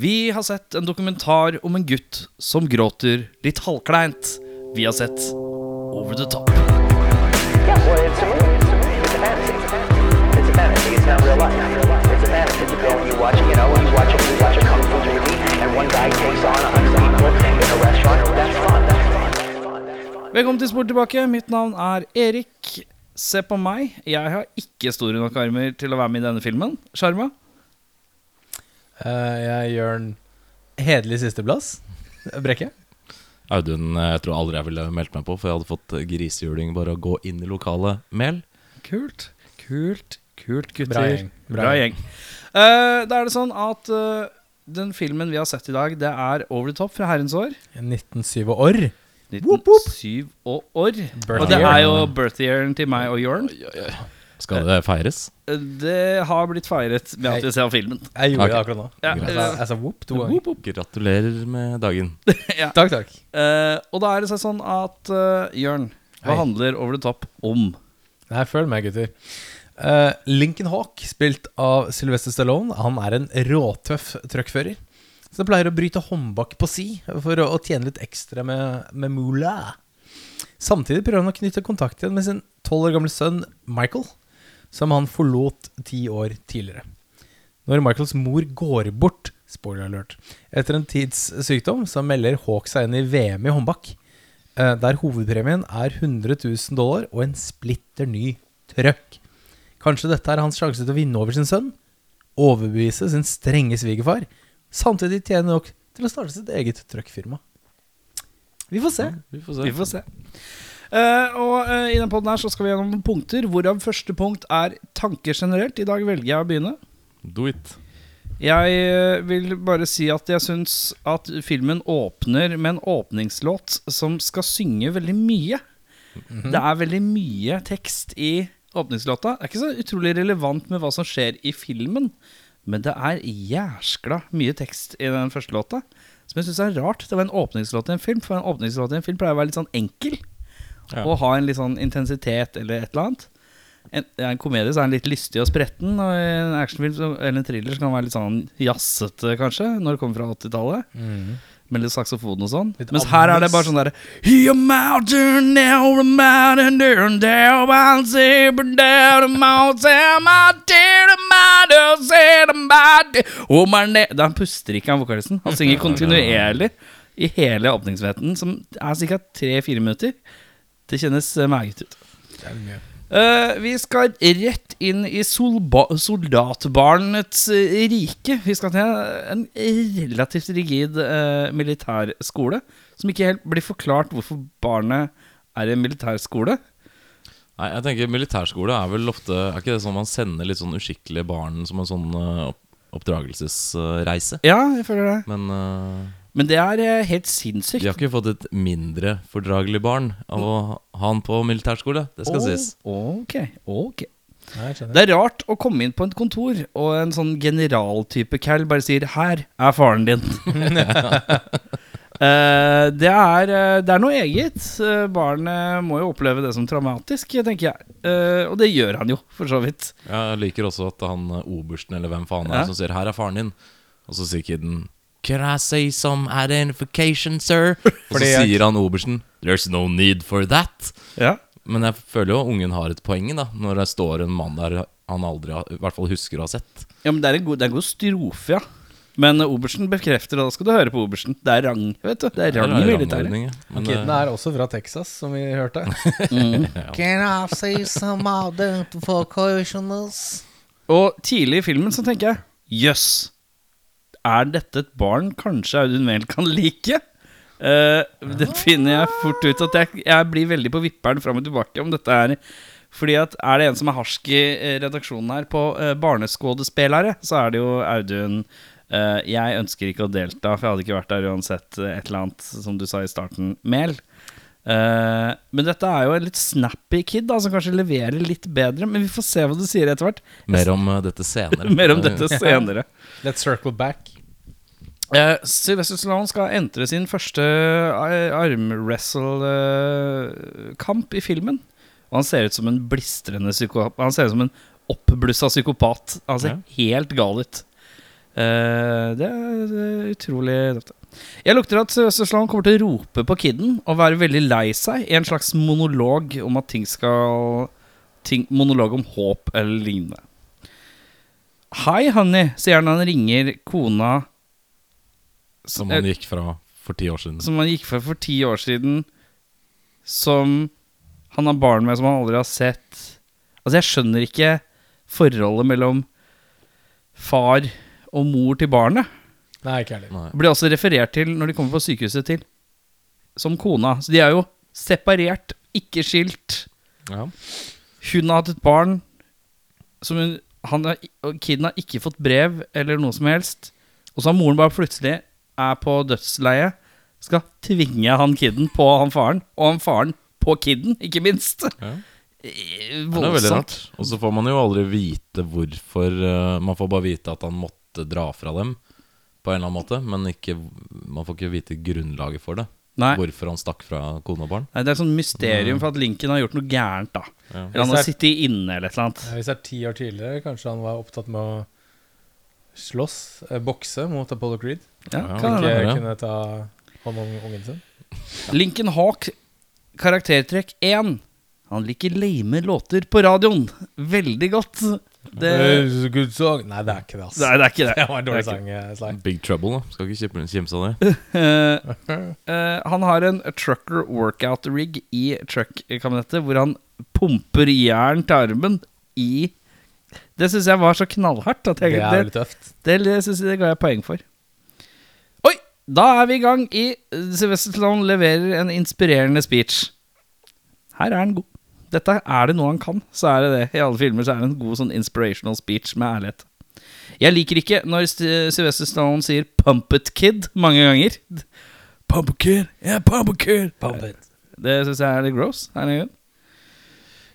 Vi har sett en dokumentar om en gutt som gråter litt halvkleint. Vi har sett Over the Top. Yeah, well, it's a movie. It's a fantasy. It's a fantasy. It's not real life. It's a fantasy. You go and you watch, you know, you watch a, you watch a kung fu movie, and one guy takes on a hundred people in a restaurant. That's fun. That's fun. That's fun. Velkommen til Sport tilbake. Mitt navn er Erik. Se på meg. Jeg har ikke store nok armer til å være med i denne filmen. Sjarma? Eh, jeg gjør en hederlig sisteplass. Brekke. Audun eh, jeg tror aldri jeg ville meldt meg på, for jeg hadde fått eh, grisehjuling bare å gå inn i lokalet mel. Kult. Kult, kult, gutter. Bra gjeng. Bra gjeng. Eh, da er det sånn at eh, den filmen vi har sett i dag, det er Over the Top fra herrens år. 1907 år. 1907 og år. Birth og det year. er jo birthyearen til meg og Jørn. Skal det feires? Eh, Det har blitt feiret med at vi ser filmen. Jeg gjorde Ok. det akkurat nå. Ja, Jeg sa, eh, jeg sa whoop to ganger. Whoop, whoop. Gratulerer med dagen. ja. Takk, takk. Eh, og da er det sånn at eh, Jørn, hva Hei. handler Over the Top om? Nei, følg med, gutter. Eh, Lincoln Hawk, spilt av Sylvester Stallone, han er en råtøff truckfører. Som pleier å bryte håndbak på si for å, å tjene litt ekstra med, med mula. Samtidig prøver han å knytte kontakt igjen med sin tolv år gamle sønn Michael, som han forlot ti år tidligere. Når Michaels mor går bort, spoiler alert, etter en tids sykdom, så melder Hawk seg inn i VM i håndbak. Eh, der hovedpremien er 100 000 dollar og en splitter ny trøkk. Kanskje dette er hans sjanse til å vinne over sin sønn, overbevise sin strenge svigerfar, samtidig tjene nok til å starte sitt eget trøkkfirma. Vi får se. Vi får se. Vi får se. Eh, og eh, I den podden her så skal vi gjennom noen punkter, hvorav første punkt er tanker generelt. I dag velger jeg å begynne. Do it. Jeg eh, vil bare si at jeg syns at filmen åpner med en åpningslåt som skal synge veldig mye. Det er veldig mye tekst i åpningslåta. Det er ikke så utrolig relevant med hva som skjer i filmen, men det er jæskla mye tekst i den første låta. Som jeg syns er rart. Det var en åpningslåt i en film, for en åpningslåt i en film pleier å være litt sånn enkel. Ja. Og ha en litt sånn intensitet eller et eller annet. En, i en komedie så er den litt lystig og spretten, og i en actionfilm så, eller en thriller så kan den være litt sånn jazzete, kanskje, når det kommer fra 80-tallet. Med litt saksofon og sånn. Litt Mens her er det bare sånn derre You're mountain, you're a mountain, you're a devil, I'll see you down the mountain, my dear, my dear, say to my dear, oh, my ne- Da Han puster ikke, han vokalisten. Han synger kontinuerlig i hele åpningsveten, som er ca. tre-fire minutter. Det kjennes eh, meget ut. Eh, vi skal rett inn i solba soldatbarnets eh, rike. Vi skal til en relativt rigid eh, militærskole, som ikke helt blir forklart hvorfor barnet er i en militærskole. Nei, jeg tenker Militærskole er vel ofte Er ikke det sånn man sender litt sånn uskikkelige barn som en sånn eh, opp oppdragelsesreise? Ja, jeg føler det. Men eh, Men det er eh, helt de sinnssykt. har ikke fått et mindre fordragelig barn av å ha han på militærskole. Det skal Å, sies. Ok, ok. Nei, jeg skjønner. Det er rart å komme inn på et kontor, og en sånn generaltype cal bare sier 'Her er faren din'. Eh, det, er, eh, det er noe eget. Eh, Barnet må jo oppleve det som traumatisk, tenker jeg. Eh, og det gjør han jo, for så vidt. Jeg liker også at han eh, obersten eller hvem faen er Ja. som sier 'her er faren din', og så sier kiden 'Can I say some identification, sir?' Og så Fordi jeg- sier han obersten 'There's no need for that'. Ja. Men jeg føler jo ungen har et poeng da når det står en mann der han aldri har, i hvert fall husker å ha sett. ja, men det er en god, det er en god strofe, ja. Men eh, obersten bekrefter, og da skal du høre på obersten. Det er rang, vet du. Det er rang i militæret. rangordning, ja. Men, Kidden eh, er også fra Texas, som vi hørte. Mm. Can I say some other vocationals? Og tidlig i filmen så tenker jeg Jøss, er dette et barn kanskje Audun Mehl kan like? Eh, det finner jeg fort ut at jeg, jeg blir veldig på vipperen fram og tilbake om dette er Fordi at er det en som er harsk i eh, redaksjonen her på eh, barneskuespillere, så er det jo Audun. eh, jeg ønsker ikke å delta, for jeg hadde ikke vært der uansett eh, et eller annet, som du sa i starten, Mehl. Eh, men dette er jo en litt snappy kid, da, som kanskje leverer litt bedre. Men vi får se hva du sier etter hvert. mer om eh, dette senere. Mer om dette senere. Let's circle back. Eh, Sylvester Stallone skal entre sin første eh, armwrestle-kamp i filmen. Og han ser ut som en blistrende psykopat. Han ser ut som en oppblussa psykopat. Han ser helt gal ut. Eh, det er det er utrolig døft. Jeg lukter at Sørøst-Østland kommer til å rope på kiden og være veldig lei seg i en slags monolog om at ting skal ting, Monolog om håp eller lignende. Hei, Honey, sier han når han ringer kona Eh, Som han gikk fra for ti år siden. som han gikk for for ti år siden, som han har barn med som han aldri har sett. Altså, jeg skjønner ikke forholdet mellom far og mor til barnet. Nei, ikke heller. Nei. Det blir også referert til når de kommer på sykehuset til som kona. Så de er jo separert, ikke skilt. Ja. Hun har hatt et barn som hun han har, og Kiden har ikke fått brev eller noe som helst. Og så har moren bare plutselig er på dødsleie. Skal tvinge han kiden på han faren, og han faren på kiden, ikke minst. Ja. Eh, Det er veldig Voldsomt. rart. Og så får man jo aldri vite hvorfor eh, Man får bare vite at han måtte dra fra dem på en eller annen måte, men ikke, man får ikke vite grunnlaget for det. Nei. Hvorfor han stakk fra kone og barn. Nei, det er sånn mysterium Mm. for at Lincoln har gjort noe gærent, da. Ja. Eller han har sittet inne eller et eller annet. Ja, Eh, Hvis det er ti år tidligere, kanskje han var opptatt med å slåss, eh, bokse mot Apollo Creed. Ja, Ja, kan ikke- hende. Ikke det. kunne ta hånd om ungen sin. Lincoln Hawk, karaktertrekk 1. Han liker lame låter på radioen. Veldig godt. Det Good song. Nei, det er ikke det, ass. Nei, det er ikke det. Det var en dårlig Det er ikke- sang, eh, Sly. Big Trouble, da. Skal ikke kjip- kimse av det. Eh, eh, han har en trucker workout rig i truckkabinettet, hvor han pumper jern til armen i Det syns jeg var så knallhardt at jeg Det er det, veldig tøft. det, synes jeg det ga jeg poeng for. Oi! Da er vi i gang i Sylvester Stallone leverer en inspirerende speech. Her er den god. Dette er det noe han kan, så er det det. I alle filmer så er det en god sånn inspirational speech med ærlighet. Jeg liker ikke når St- Sylvester Stallone sier 'pump it, kid' mange ganger. Pump it, kid. Yeah, pump it, kid. Det syns jeg er litt gross. Er det grunn?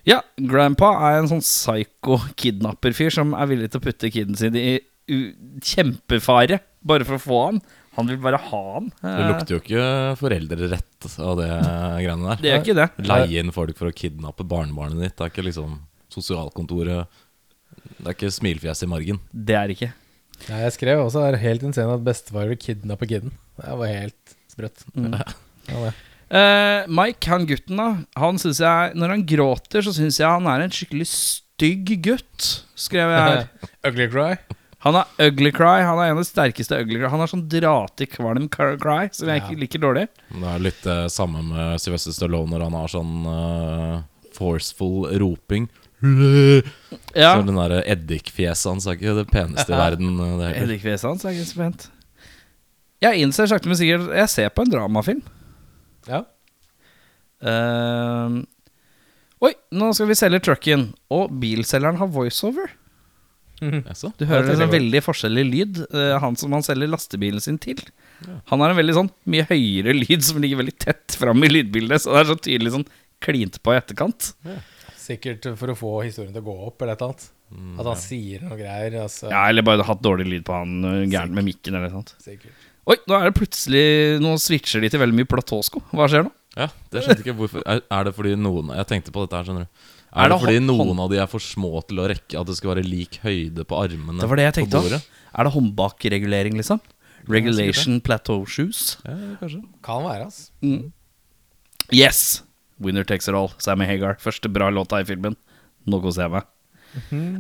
Ja, grandpa er en sånn psycho kidnapperfyr som er villig til å putte kiden sin i u kjempefare bare for å få han. Han vil bare ha han. Det lukter jo ikke foreldrerett av det Eh, greiene der. Det gjør ikke det. Leie inn folk for å kidnappe barnebarnet ditt. Det er ikke liksom sosialkontoret Det er ikke smilefjes i margen. Det er ikke. Nei, jeg skrev også er helt insane at bestefar vil kidnappe kiden. Det var helt sprøtt. Ja, det. Mm. Eh, Mike, han gutten da Han synes jeg, Når han gråter, så syns jeg han er en skikkelig stygg gutt, skrev jeg her. Ugly cry. Han er ugly cry. Han er en av de sterkeste ugly cry. Han har sånn dratig kvalm car- cry, som jeg ikke liker dårlig. Men Det er litt det samme med Sylvester Stallone når han har sånn eh, forceful roping. Ja. Så den der eddikfjeset hans er ikke det peneste i verden. eh, Det heller. Henrik Vesand, så er jeg ikke så spent. Jeg innser sakte, men sikkert Jeg ser på en dramafilm. Ja. Eh, oi, nå skal vi selge trucken. Og bilselgeren har voiceover. Jaså? Du hører det en er sånn veldig veldig forskjellig lyd. eh, han som han selger lastebilen sin til. Han har en veldig sånn mye høyere lyd som ligger veldig tett fram i lydbildet. Så det er så tydelig sånn klint på i etterkant. Sikkert for å få historien til å gå opp, eller et eller annet. Mm. At han sier noe greier. Altså, Ja, Eller bare hatt dårlig lyd på han eh, gæren med mikken eller noe sånt. sikkert. Oi, nå er det plutselig Nå switcher de til veldig mye platåsko. Hva skjer nå? Ja, det skjønte ikke hvorfor er, er det fordi noen Jeg tenkte på dette her, skjønner du. Er, Er det, det fordi hånd- noen av de er for små til å rekke at det skal være lik høyde på armene? Det var det jeg tenkte på bordet? også. Er det håndbakregulering, liksom? Regulation plateau shoes. Mm. Ja, kanskje. Kan være, altså. Yes! Winner takes it all, Sammy Hagar. Første bra låta i filmen. Nå koser jeg meg.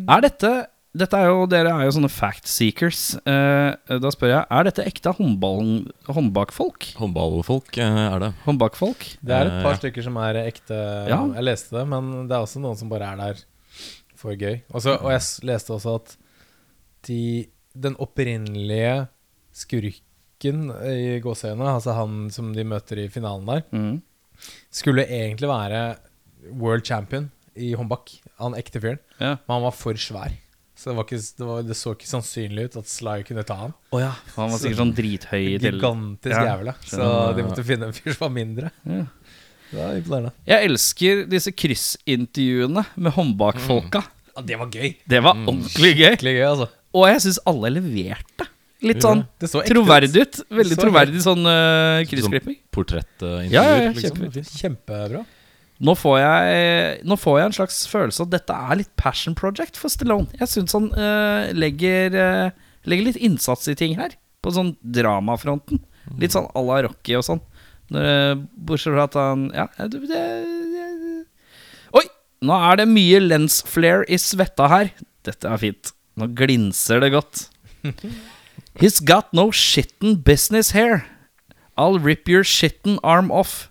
Er dette dette er jo, Dere er jo sånne fact seekers. Eh, da spør jeg, er dette ekte håndball, håndbakfolk? Håndballfolk eh, er det. Håndbakfolk? Det er et Eh, par ja. stykker som er ekte Ja. Jeg leste det, men det er også noen som bare er der for gøy. Og så- og jeg s- leste også at de, den opprinnelige skurken i gåseøynene, altså han som de møter i finalen der, Mm. skulle egentlig være world champion i håndbak, han ekte fyren. Ja. Men han var for svær, så det, var ikke, det, var, det så ikke sannsynlig ut at Sly kunne ta han. Å ja. Han var sikkert sånn drithøy i til- Gigantisk Ja. jævla. Så Skjønner. de måtte finne en fyr som var mindre. Ja. Det var imponerende. Jeg elsker disse kryssintervjuene med håndbakfolka. Mm. Ja, det var gøy. Det var ordentlig gøy. Skikkelig gøy, altså. Og jeg syns alle leverte. Litt Gjorde sånn det? Det så ekte ut. troverdig ut. Veldig Så troverdig sånn uh, kryssklipping. Sånn portrettintervjuer, Ja, ja, ja, liksom. kjempefint. Kjempebra. Nå, får jeg- nå får jeg en slags følelse av at dette er litt passion project for Stallone. Jeg syns han eh, legger eh, Legger litt innsats i ting her, på sånn dramafronten. Litt sånn à la Rocky og sånn. Når, eh, Bortsett fra at han Ja, eh, det, det, det Oi! Nå er det mye lens flare i svetta her. Dette er fint. Nå glinser det godt. He's got no shitten business here. I'll rip your shitten arm off.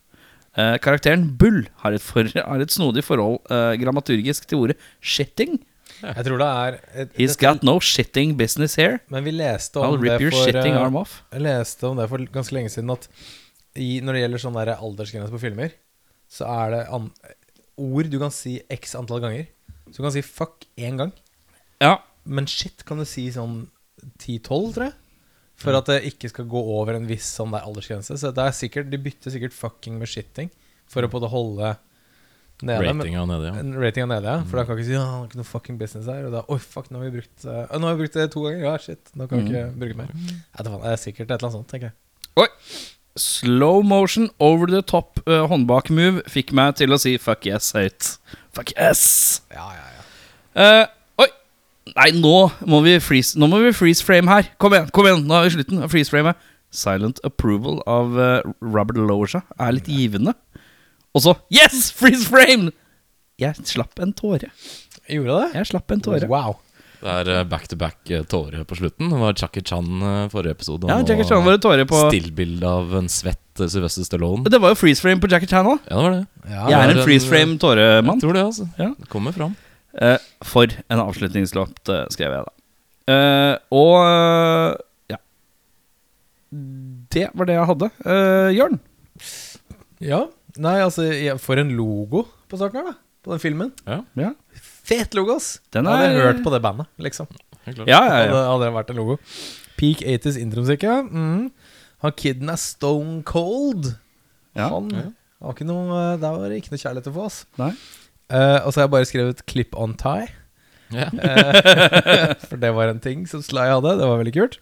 Eh, karakteren Bull har et, for, har et snodig forhold eh, grammaturgisk til ordet shitting. Jeg tror det er et, He's got no shitting business here. Men vi leste I'll om det rip your for shitting eh, arm off. Jeg leste om det for ganske lenge siden at i, når det gjelder sånn der aldersgrense på filmer, så er det an ord du kan si x antall ganger. Så du kan si fuck én gang, Ja, men shit kan du si sånn 10-12, tror jeg. Mm. For at det ikke skal gå over en viss sånn der aldersgrense. Så det er sikkert, de bytter sikkert fucking med shitting Mm. for å både holde nede men- Ratinga nede, ja. en Rating er nede, ja. For da kan vi ikke si ja, det er ikke noe fucking business her. Og da, oi, fuck, nå har vi brukt eh, Nå har vi brukt det to ganger. Ja, shit. Nå kan vi ikke Mm. bruke mer. Ja, det faen, det er sikkert et eller annet sånt, tenker jeg. Oi. Slow motion over the top eh, håndbak-move fikk meg til å si fuck yes høyt. Fuck yes! Ja, ja, ja. Eh, oi! Nei, nå må vi freeze Nå må vi freeze frame her. Kom igjen, kom igjen, nå er vi i slutten. av Freeze frame Silent approval av eh, Robert Loja er litt givende. Og så yes! Freeze frame! Jeg slapp en tåre. Gjorde det? Jeg slapp en tåre. Wow. Det er eh, back to back eh, tåre på slutten. Det var Jackie Chan eh, forrige episode. Ja, og Jackie Chan var en tåre på Stillbilde av en svett eh, Sylvester Stallone. Det var jo freeze frame på Jackie Chan òg. Ja, det var det. Ja, Jeg er eh, det var eh, en en- freeze frame tåremann. Jeg tror det, altså. Ja. Det kommer fram. Eh, for en avslutningslåt, eh, skrev jeg da. Eh, og eh, ja. Det var det jeg hadde. Eh, Jørn? ja. Nei, altså, jeg- for en logo på starten her, da. På den filmen. Ja. Fet logo, ass! Den Hadde jeg er- hørt på det bandet, liksom. Helt klart. Ja, ja, Hadde, ja. hadde det vært en logo. Peak 80s intromusikk, ja. Mm. Han kiden er stone cold. Ja. Han har ikke noe eh, Der var det ikke noe kjærlighet å få, ass. Nei. Eh, og så har jeg bare skrevet 'clip on tie', Ja. eh, for det var en ting som Sly hadde. Det var veldig kult.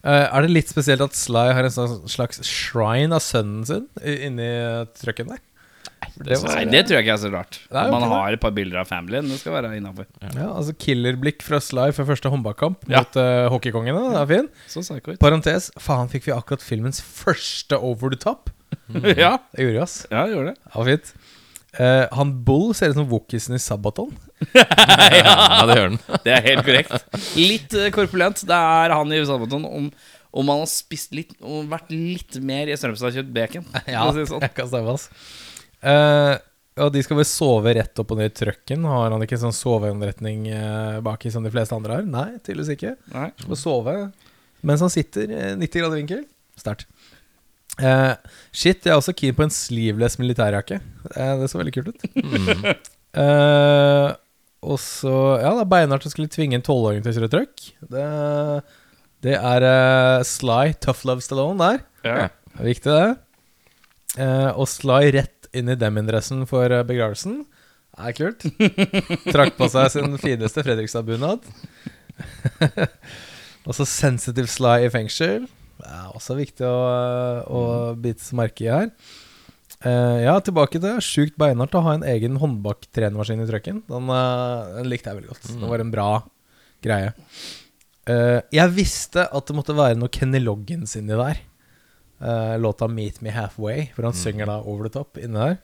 Eh, er det litt spesielt at Sly har en sånn slags shrine av sønnen sin i- inni eh, trucken der? Det var- Nei, det tror jeg ikke er så rart. Nei, Man ok, da. har et par bilder av familien. Det skal være innafor. Ja, altså Killerblikk fra Sly før første håndballkamp Ja. mot eh, hockeykongene. Det er fin. Så psycho ut. Parentes, faen fikk vi akkurat filmens første over the top? ja. Det gjorde vi, ass. ja, gjorde det. Det var fint. Eh, han Bull ser ut som Wookiesen i Sabaton. ja, det gjør den. Det er helt korrekt. Litt eh, korpulent. Det er han i Sabaton om om han har spist litt og vært litt mer i Strømstad-kjøttbacon. for å si det sånn. det kan stemme, ass. Eh, og de skal vel sove rett opp og ned i trucken? Har han ikke sånn soveanretning eh, baki som de fleste andre har? Nei, tydeligvis ikke. Nei. Skal sove mens han sitter, eh, 90 grader vinkel. Sterkt. Eh, shit, jeg er også keen på en sleeveless militærjakke. Eh, det så veldig kult ut. Mm. Eh, og så Ja, det er beinhardt å skulle tvinge en tolvåring til å kjøre truck. Det, det er eh, Sly Tough Love Stallone der. Ja. Det er viktig, det. Eh, og Sly rett inn i Demin-dressen for eh, begravelsen. Det er kult. Trakk på seg sin fineste Fredrikstad-bunad. og så Sensitive Sly i fengsel. Det er også viktig å, å bite seg merke i her. Eh, ja, tilbake til det. Sjukt beinhardt å ha en egen håndbaktrenemaskin i trucken. Den, eh, den likte jeg veldig godt. Det var en bra greie. Eh, jeg visste at det måtte være noe Kenny Loggins inni der. Eh, låta 'Meet Me Halfway', hvor han synger da over the top inni der.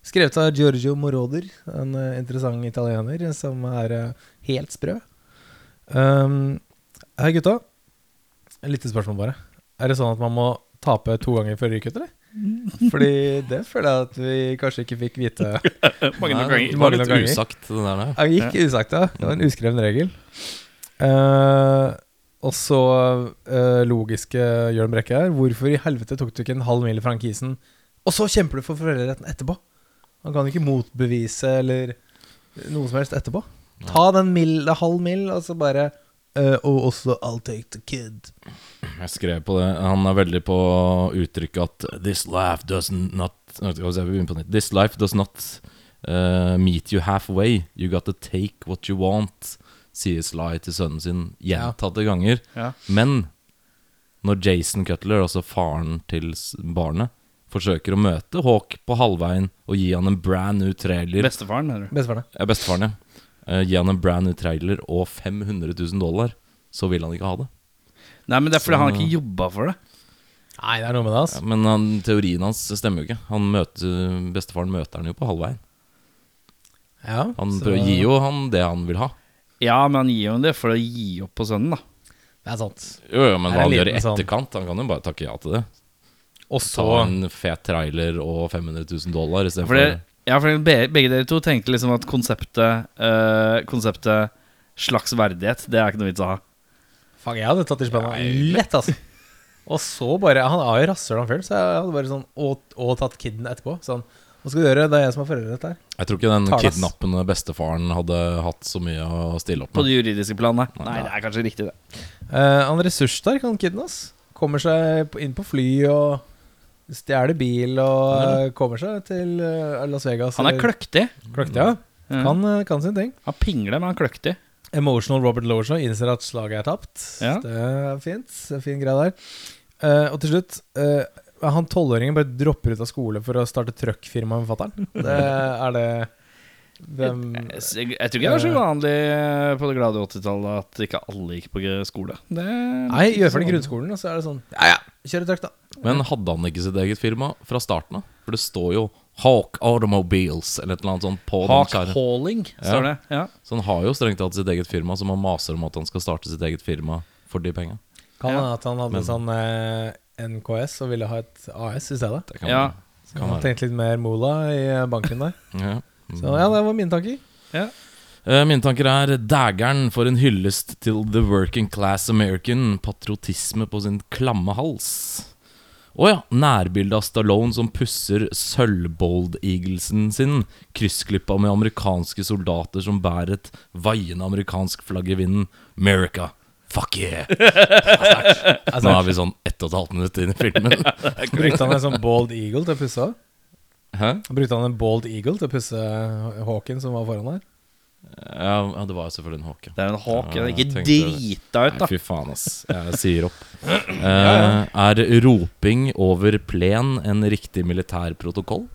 Skrevet av Giorgio Moroder, en eh, interessant italiener som er eh, helt sprø. Um, hei, gutta. Et lite spørsmål, bare. Er det sånn at man må tape to ganger for å ryke ut, eller? Fordi det føler jeg at vi kanskje ikke fikk vite. Mange nok Nei, ganger. Det var litt Mange nok ganger. usagt, den der. nei. Jeg gikk usagt, ja. Mm. Det var en uskreven regel. Eh, og så eh, logiske Jørn Brekke her. Hvorfor i helvete tok du ikke en halv mil i frankisen, og så kjemper du for foreldreretten etterpå? Han kan jo ikke motbevise eller noe som helst etterpå. Ta den mil, halv mil, og så bare eh, Og også I'll take the kid. Jeg skrev på det. Han er veldig på uttrykket at This life does not Nå skal vi se, vi begynner på nytt. This life does not eh, meet you halfway. You gotta take what you want, sier Sly til sønnen sin gjentatte ganger. Ja. Men når Jason Cutler, altså faren til s- barnet, forsøker å møte Hawk på halvveien og gi han en brand new trailer Bestefaren, mener du? Bestefaren, ja. eh, Ja, bestefaren, ja. Eh, gi han en brand new trailer og 500 000 dollar, så vil han ikke ha det. Nei, men det er fordi han har ikke jobba for det. Nei, det er noe med det, altså. Men han, teorien hans stemmer jo ikke. Han møter, bestefaren møter han jo på halvveien. Ja, Han så- prøver, gir jo han det han vil ha. Ja, men han gir jo det for å gi opp på sønnen, da. Det er sant. Jo, jo, men Er hva han det gjør i liten sånn- etterkant Han kan jo bare takke ja til det. Og Ta så en fet trailer og 500 000 dollar For istedenfor det, ja, for be- begge dere to tenkte liksom at konseptet eh, Konseptet slags verdighet, det er ikke noe vits å ha. Fuck, jeg hadde tatt i spenna lett, altså. Og så bare Han er jo rasshøl, han fyren, så jeg hadde bare sånn Og, og tatt kiden etterpå. Sånn Hva skal du gjøre? Det er jeg som har foreldrene her. Jeg tror ikke den Talas. kidnappende bestefaren hadde hatt så mye å stille opp På med. det juridiske planet. Nei, det er kanskje riktig, det. Eh, han ressurssterk, han kiden, ass. Kommer seg på- inn på fly og stjeler bil og eh, kommer seg til eh, Las Vegas. Han er Mm. eller- kløktig. kløktig. Ja. Ja. Kan, eh, kan sin ting. Han pingler, men han er kløktig. Emotional Robert Loja innser at slaget er tapt. Ja. Det er fint. Det er fin greie der. Eh, og til slutt eh, Han tolvåringen bare dropper ut av skole for å starte trøkkfirma med fatter'n. Det er det Hvem Jeg, s- jeg tror ikke det var så uvanlig eh, på det glade 80-tallet at ikke alle gikk på g- skole. Det Nei, gjør ferdig grunnskolen, og så er det sånn Ja, ja, kjør et trøkk, da. Men hadde han ikke sitt eget firma fra starten av? For det står jo Hawk Automobiles eller et eller annet sånt på Hawk den skjermen. Hauling, står det. Ja. Så han har jo strengt tatt sitt eget firma, som han maser om at han skal starte sitt eget firma for de penga. Kan Ja. hende at han hadde en sånn eh, NKS og ville ha et AS i stedet. Det kan Ja. være. Så Kan han være. tenkte litt mer Mola i eh, banken der. Ja. Så Mm. ja, det var mine tanker. Ja. Eh, Mine tanker er Dægeren for en hyllest til the working class American. Patriotisme på sin klamme hals. Å ja, nærbildet av Stallone som pusser sølvbold-eaglesen sin, kryssklippa med amerikanske soldater som bærer et vaiende amerikansk flagg i vinden. America, fuck yeah! Nå er vi sånn ett og et halvt minutt inn i filmen. Brukte han en sånn bald eagle til å pusse av? Hæ? Brukte han en bald eagle til å pusse Hawken som var foran der? Ja, ja, det var jo selvfølgelig en håke. Det er en hawk. Ja, den er jeg ikke tenkte det. drita ut, Nei, da. Fy faen, ass. Jeg sier opp. Eh, er roping over plen en riktig militær protokoll?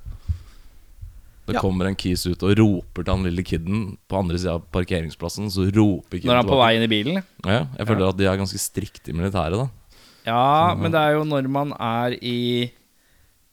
Det Ja. kommer en kis ut og roper til han lille kiden på andre sida av parkeringsplassen. Så roper kiden Når han er på tilbake. vei inn i bilen. Ja, jeg føler at de er ganske strikte i militæret, da. Ja, men det er jo når man er i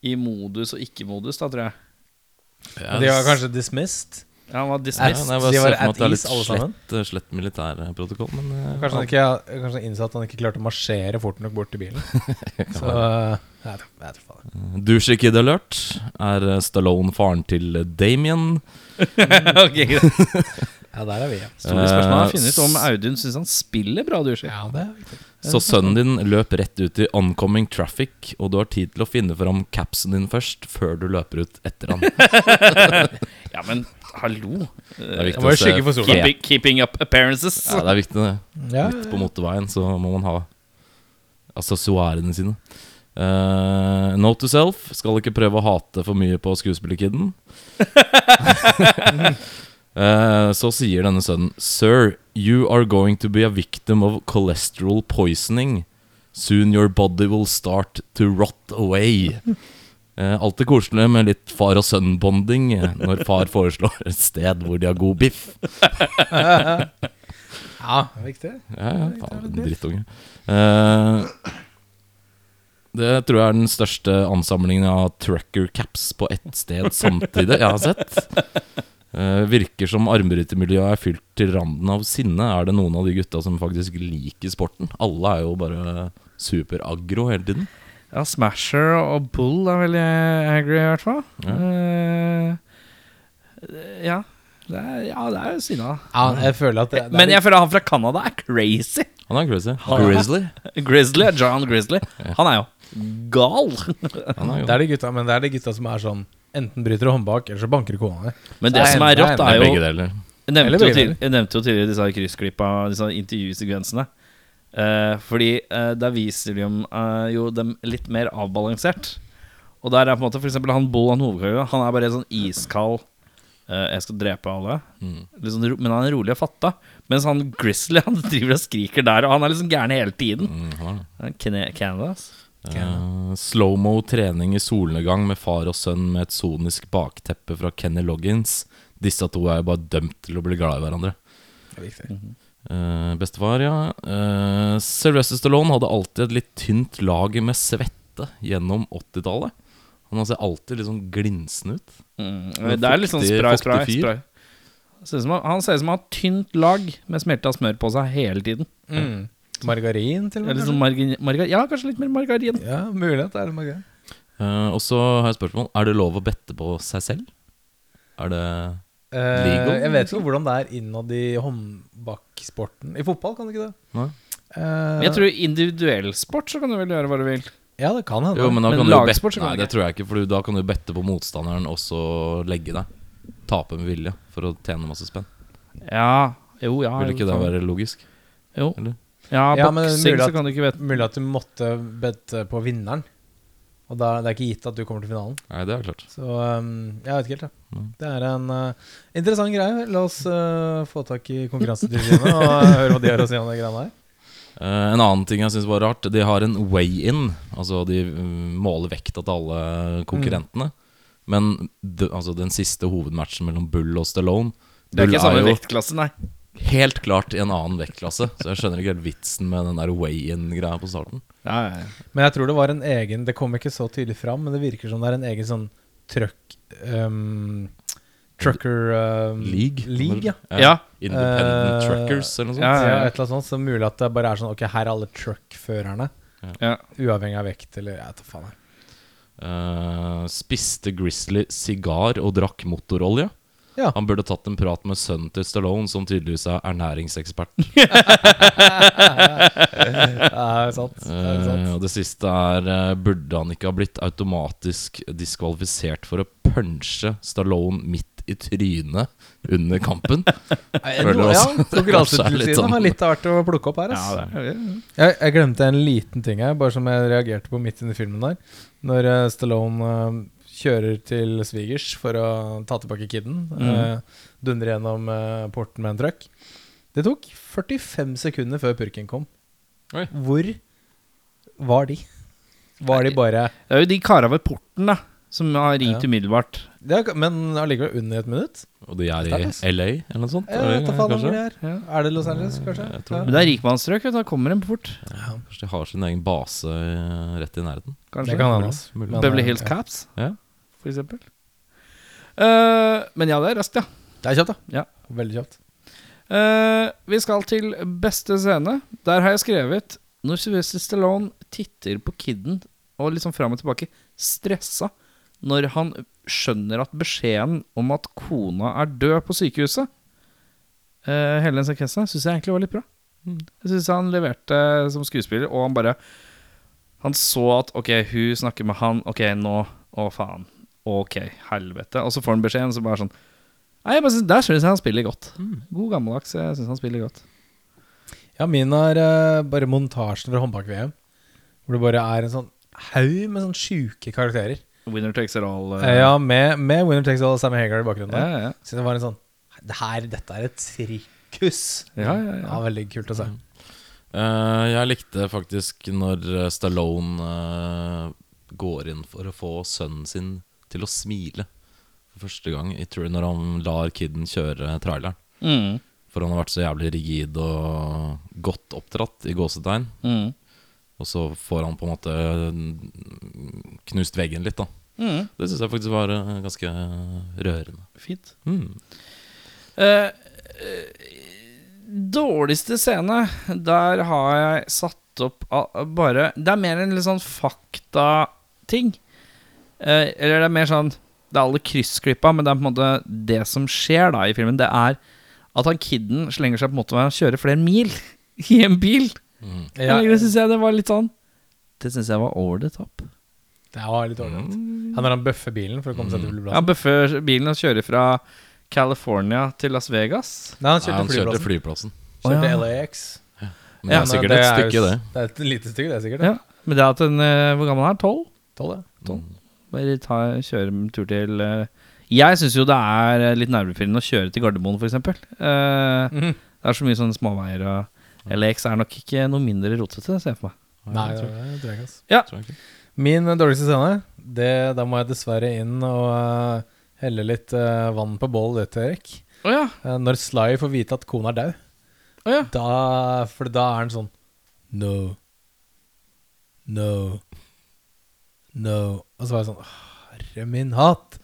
I modus og ikke-modus, da, tror jeg. Og de var kanskje dismissed? Ja, han var ja, dismissed. nei, jeg bare de ser var for meg at at det er ease, alle sammen. litt slett, eh, slett militærprotokoll, men eh, Kanskje han, ikke, kanskje han innså at han ikke klarte å marsjere fort nok bort til bilen. Så jeg vet- jeg vet faen. Douche Kid Alert er eh, Stallone faren til Damien. Ok, greit. Ja, der er vi. Ja. Store spørsmål Eh, er funnet ut om Audun syns han spiller bra dusjer. Ja, det er viktig. Så sønnen din løp rett ut i oncoming traffic, og du har tid til å finne fram capsen din først, før du løper ut etter han. Det Ja, men hallo. Eh, er viktig Jeg må å jo se sjekke for sola. fet- Keeping, keeping up appearances. Ja, det er viktig, det. Ja, Midt på motorveien så må man ha assessoarene sine. Eh, note to self skal ikke prøve å hate for mye på skuespillerkidden. Eh, så sier denne sønnen Sir, you are going to be a victim of cholesterol poisoning. Soon your body will start to rot away. Eh, alltid koselig med litt far og sønn-bonding eh, når far foreslår et sted hvor de har god biff. ja det er viktig. Ja, ja, faen, drittunge. Eh, det tror jeg er den største ansamlingen av trucker caps på ett sted samtidig jeg har sett. Eh, virker som armbrytermiljøet er fylt til randen av sinne. Er det noen av de gutta som faktisk liker sporten? Alle er jo bare superaggro hele tiden. Ja, Smasher og Bull er veldig angry, i hvert fall. Ja. Eh, ja. Det er, ja, det er jo sinna. Ja, jeg føler at det, det er Men jeg føler han fra Canada er crazy. Han er crazy. Han- Grizzly. Grizzly, John Grizzly. Han er jo gal. Han er litt- jo det er de gutta, men det er de gutta som er sånn Enten bryter du håndbak, eller så banker du kona di. Men Nei, det som er nei, rått, nei, er jo begge deler. Jeg nevnte, Eller jo begge tidlig, jeg nevnte jo tidligere disse her kryssklippa, disse her intervjusekvensene. Eh, fordi eh, der viser de om, eh, jo dem litt mer avbalansert. Og der er på en måte for eksempel han Boll, han hovedkarakter, han er bare sånn iskald eh, 'Jeg skal drepe alle'. Mm. Litt sånn ro- men han er rolig og fatta. Mens han Grizzly han driver og skriker der, og han er liksom gæren hele tiden. Mm, han er det. Eh, Kene- Canada, ass. Uh, Slow-mo trening i solnedgang med far og sønn med et sonisk bakteppe fra Kenny Loggins. Disse to er jo bare dømt til å bli glad i hverandre. Det er viktig. Eh, bestefar, ja. Eh, Sylvester Stallone hadde alltid et litt tynt lager med svette gjennom 80-tallet. Han ser alltid litt sånn glinsende ut. Mm, det er litt sånn Fuktig- spray, fuktig spray. fyr. spray. Ser ut som han- han ser ut som han har tynt lag med smelta smør på seg hele tiden. Mm. Margarin, til og Eller med. sånn margin, marga- ja, kanskje litt mer margarin. kanskje? Ja, mulig at det er margarin. Eh, og så har jeg et spørsmål. Er det lov å bette på seg selv? Er det Eh, Legal? jeg vet ikke hvordan det er innad i håndbaksporten. I fotball kan det ikke det? Nei? Eh, Jeg tror individuell sport så kan du vel gjøre hva du vil. Ja, det kan hende. Jo, men da Men kan du jo lagsport bette så kan Nei, du det tror jeg ikke. For da kan du bette på motstanderen og så legge deg. Tape med vilje for å tjene masse spenn. Ja, jo, ja. Vil Ah, jo, ikke det faen. være logisk? Jo. eller? Ja, Ja, men boksing mulig så at- kan du ikke vite Mulig at du måtte bedte på vinneren. Og da, det er ikke gitt at du kommer til finalen. Nei, det er klart. Så um, jeg vet ikke helt, jeg. Mm. Det er en uh, interessant greie. La oss uh, få tak i Konkurransetilsynet og uh, høre hva de har å si om de greiene her. Eh, en annen ting jeg syns var rart, de har en weigh-in. Altså de mm, måler vekta til alle Mm. konkurrentene. Men d- altså, den siste hovedmatchen mellom Bull og Stallone Det er Bull ikke samme jo vektklasse, nei. helt klart i en annen vektklasse, så jeg skjønner ikke helt vitsen med den der weigh-in-greia på starten. Ja, ja, ja. Men jeg tror det var en egen Det kom ikke så tydelig fram, men det virker som det er en egen sånn truck um, Trucker um, League? ja. Ja. Independent Eh, Truckers eller noe sånt. ja, Ja, et eller annet sånt, så mulig at det bare er sånn Ok, her er alle truckførerne. Ja. Uavhengig av vekt eller Jeg vet da faen. jeg. Eh, spiste Grizzly sigar og drakk motorolje. Ja. Han burde tatt en prat med sønnen til Stallone, som tydeligvis er ernæringsekspert. Det er sant. Det er sant. Eh, og det siste er eh, Burde han ikke ha blitt automatisk diskvalifisert for å punche Stallone midt i trynet under kampen? Jeg Føler tror- også- Ja, kanskje er litt Konkurransetilsynet sånn- har litt av hvert å plukke opp her. Ass. ja, det er- jeg, jeg glemte en liten ting her, bare som jeg reagerte på midt under filmen der. Når eh, Stallone eh, kjører til svigers for å ta tilbake kiden, Mhm. eh, dundrer gjennom eh, porten med en truck. Det tok 45 sekunder før purken kom. Oi. Hvor var de? Var de bare Det er jo de kara ved porten, da, som har ringt Ja. umiddelbart. det er, Men allikevel under et minutt? Og de er i Stakkars. LA eller noe sånt? Jeg vet da eller, faen om kanskje? det er. Ja. Er det Los Angeles, kanskje? jeg tror Men det er rikmannsstrøk, vet du. Da kommer de fort. Kanskje de har sin egen base eh, rett i nærheten? Kanskje. Det kan hende. ass. Mulig. Men, Beverly eh, Hills ja. Caps, Ja. for eksempel. Eh, men ja, det er raskt, ja. Det er kjapt, da. Ja. Veldig kjapt. Eh, vi skal til beste scene. Der har jeg skrevet når Sylvester Stallone titter på kidden og liksom fram og tilbake, stressa når han skjønner at beskjeden om at kona er død på sykehuset eh, Hele den sekvensen syns jeg egentlig var litt bra. Jeg syns han leverte som skuespiller, og han bare Han så at ok, hun snakker med han, ok, nå Å, faen. Ok, helvete. Og så får han beskjeden, så bare sånn Nei, jeg bare synes, Der syns jeg han spiller godt. God gammeldags. Jeg syns han spiller godt. Ja, min er eh, bare montasjen fra håndbak-VM. Hvor det bare er en sånn haug med sånn sjuke karakterer. Winner takes it all. eh. Eh, ja, med, med Winner Takes All og Sammy Hagar i bakgrunnen. ja, der. ja. Så det var en sånn det her, Dette er et sirkus. Ja, ja, Mm. ja. Veldig kult altså. å se. Eh, jeg likte faktisk når eh, Stallone eh, går inn for å få sønnen sin til å smile for første gang. Jeg tror når han lar kiden kjøre traileren. Mm, For han har vært så jævlig rigid og godt oppdratt i gåsetegn. mm, Og så får han på en måte mm, knust veggen litt, da. mm. Det syns jeg faktisk var eh, ganske rørende. Fint. Mm. Eh, eh, dårligste scene, der har jeg satt opp a- bare Det er mer en litt sånn faktating. Eh, eller det er mer sånn Det er alle kryssklippa, men det er på en måte det som skjer da i filmen. Det er at han kidden slenger seg på en måte med å kjøre flere mil i en bil. Mm. Ja, Det syns jeg det var litt sånn Det syns jeg var over the top. det var litt ålreit. Mm. Mm. Han er han bøffer bilen for å komme seg til Han flyplassen. bøffer bilen og kjører fra California til Las Vegas. Nei, han Nei, kjørte han kjørte flyplassen. flyplassen. Å, Kjørte ja. LAX. Men det Ja, er Men sikkert et er jo stykke, s- det. Det er et lite stykke, det er sikkert. Ja, men det at den eh, Hvor gammel er han? 12? Tolv, ja. Bare ta, kjøre en tur til eh, Jeg syns jo det er eh, litt nervepirrende å kjøre til Gardermoen, f.eks. Uh, Mhm. det er så mye sånne småveier og LX er nok ikke noe mindre rotete, ser jeg for meg. Nei, det tror jeg ikke. ass. Tror jeg ikke. Min dårligste scene, det, da må jeg dessverre inn og eh, helle litt eh, vann på bålet, det, Erik. Å ja. Eh, Når Sly får vite at kona er død. Å ja. Da, for da er han sånn No. No. No. Og så var jeg sånn «Åh, Herre min hatt.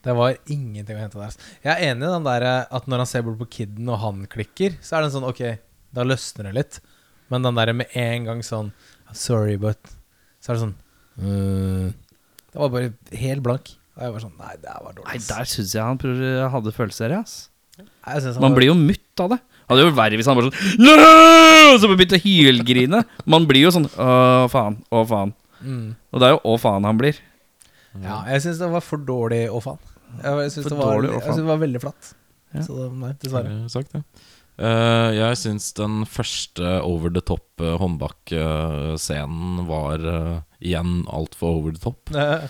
Det var ingenting å hente der. altså. Jeg er enig i den der eh, at når han ser bort på kiden, og han klikker, så er det en sånn Ok, da løsner det litt. Men den der med en gang sånn I'm Sorry, but Så er det sånn Mm. «Øh». Det var bare helt blank. Og jeg var sånn Nei, det her var dårlig. Nei, ass». der syns jeg han prøver- hadde følelser, ja, ass. Jeg synes han Man var- blir jo mutt av det. Hadde jo vært verre hvis han bare sånn «Nå!» Og så begynte å hylgrine. Man blir jo sånn Å, faen. Å, faen. mm. Og det er jo å, faen han blir. Ja, jeg syns det var for dårlig å faen. Jeg syns For det, var- dårlig å jeg faen. synes det var veldig flatt. Ja. Så det, nei, Har dessverre. jeg sagt det. Eh, jeg syns den første over the top eh, håndbak-scenen var eh, igjen altfor over the top. Eh,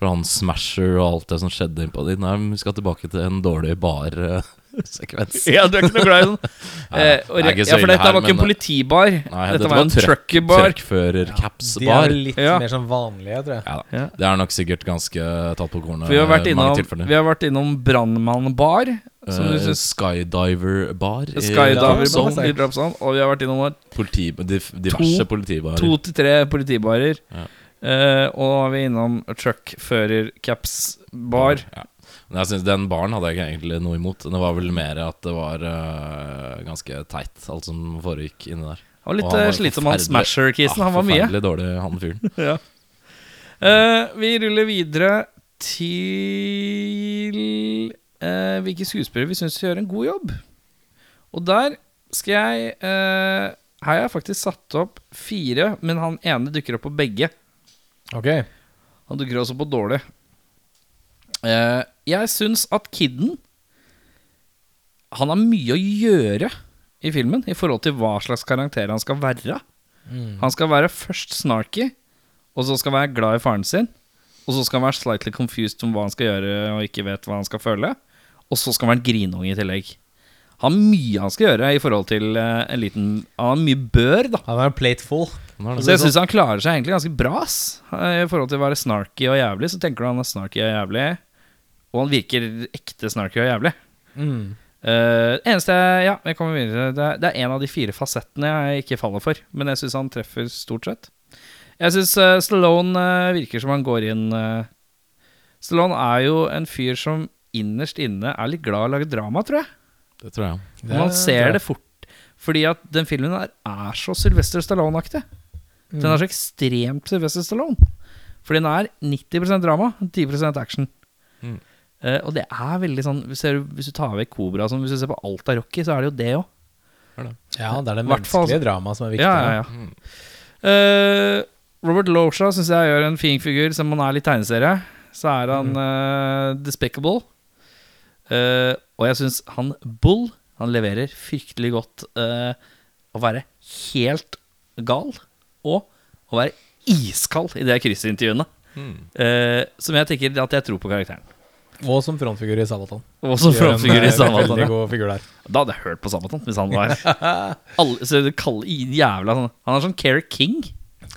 For han smasher og alt det som skjedde innpå dit. Nei, vi skal tilbake til en dårlig eh, bar-sekvens. Ja, du er ikke noe glad i sånn. den. Eh, og det er re- ikke så ja, for ille dette her, var ikke en men- eh, politibar. Nei, dette, var dette var en trøkk- truckerbar. De er Trøkkfører-caps-bar. litt Ja. mer sånn vanlige, tror jeg. Ja, da. Ja. Det er nok sikkert ganske tatt på kornet. For vi har vært i mange innom, tilfeller. vi har vært innom brannmannbar. Som du Eh, sånn. syns Skydiver-bar. i Skydiver Zone Dropzone. i Dropzone. sånn. Og vi har vært innom Politi, dif- diverse politibarer. to til tre politibarer. Ja. Eh, og nå er vi innom truckfører-caps-bar. Ja. Men jeg synes Den baren hadde jeg ikke egentlig noe imot. Det var vel mer at det var eh, ganske teit, alt som foregikk inni der. Han var Og litt han eh, var slitsom, han forferdelig- Smasher-kisen. Ah, han var mye. Forferdelig dårlig, han fyren. Ja. Eh, vi ruller videre til eh, hvilke skuespillere vi syns gjør en god jobb. Og der skal jeg eh, Her har jeg faktisk satt opp fire, men han ene dukker opp på begge. Ok. Han dukker også på dårlig. Eh, jeg syns at Kidden Han har mye å gjøre i filmen i forhold til hva slags karakter han skal være. Han skal være først snarky, og så skal han være glad i faren sin. Og så skal han være slightly confused om hva han skal gjøre og ikke vet hva han skal føle. Og så skal han være en grinunge i tillegg. Han har mye han skal gjøre i forhold til eh, en liten Han har mye bør, da. Han er en plateful. Nå er det sånn. Så jeg syns han klarer seg egentlig ganske bra. ass. Eh, I forhold til å være snarky og jævlig, så tenker du han er snarky og jævlig. Og han virker ekte snarky og jævlig. Mm. Eh, eneste Ja, jeg kommer videre. Det er, det er en av de fire fasettene jeg ikke faller for. Men jeg syns han treffer stort sett. Jeg syns eh, Stallone eh, virker som han går inn eh, Stallone er jo en fyr som innerst inne er litt glad i å lage drama, tror jeg. Det tror jeg. Og man ser det fort. Fordi at den filmen her er så Sylvester Stallone-aktig. Den Mm. er så ekstremt Sylvester Stallone. For den er 90 drama, 10 action. Mm. Eh, og det er veldig sånn ser du, Hvis du tar vekk Cobra og sånn, Hvis du ser på alt av Rocky, så er det jo det òg. Ja, det er det Hvertfall- menneskelige dramaet som er viktig. Ja, ja, ja. Eh, Robert Losha syns jeg gjør en fin figur, som han er litt tegneserie. Så er han Mm. eh, despicable. Eh, og jeg syns han Bull Han leverer fryktelig godt eh, å være helt gal og å være iskald i de krysseintervjuene. Eh, som jeg tenker at jeg tror på karakteren. Og som frontfigur i Sabaton. Og som Gjør en, frontfigur eh, i Sabaton. Veldig ja. god figur der. Da hadde jeg hørt på Sabaton hvis han var Alle, så det kaller, jævla, sånn. Han er sånn Keri King.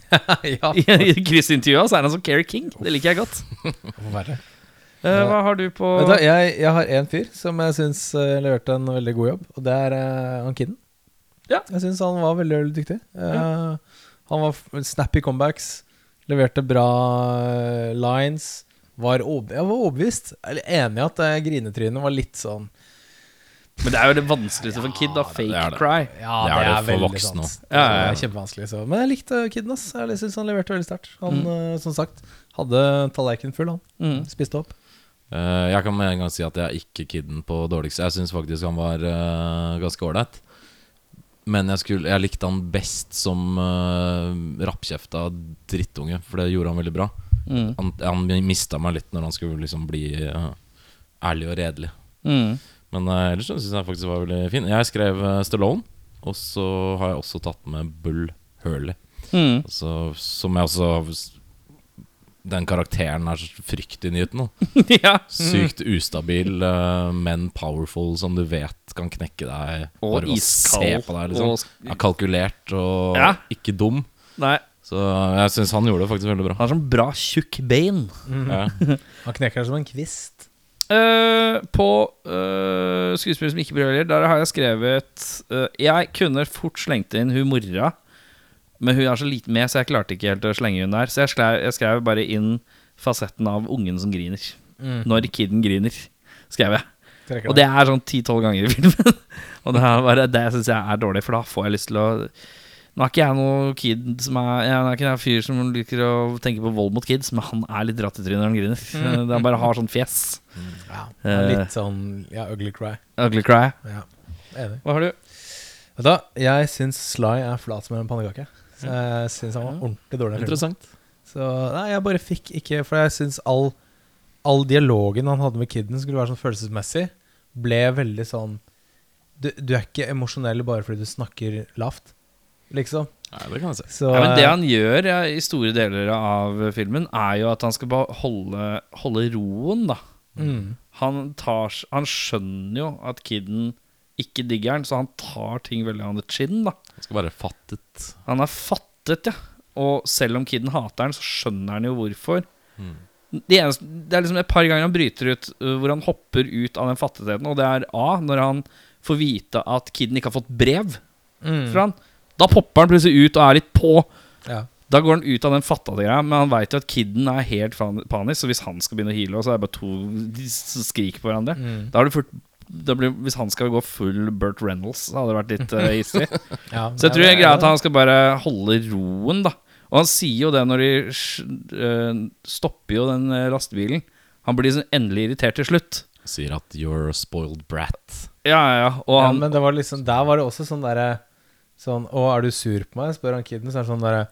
ja, I i kryssintervjua så er han som Keri King. Det liker jeg godt. forferdelig. Eh, hva har du på Vet du, hva, jeg, jeg har en fyr som jeg syns eh, leverte en veldig god jobb, og det er eh, han Kidden. Ja. Jeg syns han var veldig, veldig dyktig. Eh, Han var f- snappy comebacks, leverte bra eh, lines. Var ob jeg var overbevist. Jeg er enig i at eh, grinetrynet var litt sånn Men det er jo det vanskeligste for en kid, da. Fake det er det. cry. Ja, Det er det for veldig voksne sant. Ja, ja, ja. Det er kjempevanskelig. Så. Men jeg likte kiden. ass. Jeg syns han leverte veldig sterkt. Han, eh, som sagt, hadde tallerkenen full, han. Mm. Spiste opp. Eh, jeg kan med en gang si at jeg er ikke kidden på dårligst. Jeg syns faktisk han var eh, ganske ålreit. Men jeg, skulle, jeg likte han best som eh, rappkjefta drittunge, for det gjorde han veldig bra. Mm. Han, han mista meg litt når han skulle liksom bli eh, ærlig og redelig. Mm. Men eh, ellers syns jeg faktisk det var veldig fin. Jeg skrev eh, Stallone, og så har jeg også tatt med Bull Hurley. Mm. Altså, som jeg også Den karakteren er så fryktinngytende. ja. Sykt ustabil, eh, men powerful, som du vet kan knekke deg. Og ved å Se iskald, på deg, liksom. og sk- Er kalkulert og Ja. ikke dum. Nei, Så eh, jeg syns han gjorde det faktisk veldig bra. han er sånn bra tjukk bein. Ja. Han knekker det som en kvist. Eh, på uh, skuespillere som ikke brøler, der har jeg skrevet eh, Jeg kunne fort slengt inn hun mora, men hun er så lite med, så jeg klarte ikke helt å slenge hun der. Så jeg skrev, jeg skrev bare inn fasetten av ungen som griner. Når kiden griner, skrev jeg. Trekker Mm. Og det er sånn 10-12 ganger i filmen. Og det er bare Det syns jeg er dårlig, for da får jeg lyst til å Nå er ikke jeg noe kid som er Jeg er ikke en fyr som liker å tenke på vold mot kids, men han er litt dratt i trynet når han griner. Eh, Han bare har sånn fjes. Ja, Eh, det er litt sånn ja, ugly cry. Ugly cry. Ja, enig. Hva har du? Vet du, hva? jeg syns Sly er flat som en pannekake. Så jeg syns han var ordentlig dårlig. i filmen. Interessant. Så nei, jeg bare fikk ikke For jeg syns all, all dialogen han hadde med kiden skulle være sånn følelsesmessig, ble veldig sånn Du, du er ikke emosjonell bare fordi du snakker lavt, liksom. Nei, det kan jeg si. Så Ja, men det eh, han gjør ja, i store deler av filmen, er jo at han skal bare holde, holde roen, da. mm, han, tar, s- han skjønner jo at kiden ikke digger han, så han tar ting veldig on the chin. da Det skal være fattet. Han er fattet, ja. Og selv om kiden hater han, så skjønner han jo hvorfor. Det, eneste, det er liksom et par ganger han bryter ut øh, hvor han hopper ut av den fattigheten, og det er A, når han får vite at kiden ikke har fått brev mm, fra han. Da popper han plutselig ut og er litt på. ja. Da går han ut av den fattede greia, men han veit jo at kiden er helt fan- panisk, så hvis han skal begynne å heale, så er det bare to de s- skriker på hverandre. Mm. Da har du furt, da blir, hvis han skal gå full Burt Reynolds, så hadde det vært litt uh, hissig. ja, Så jeg tror det jeg er greier at det. han skal bare holde roen, da. Og han sier jo det når de sj- eh, stopper jo den eh, lastebilen. Han blir sånn endelig irritert til slutt. Sier at 'you're a spoiled brat'. Ja, ja, ja. Og ja, han, Men det var liksom, der var det også sånn derre sånn, Å, er du sur på meg? spør han kiden. Så er det sånn derre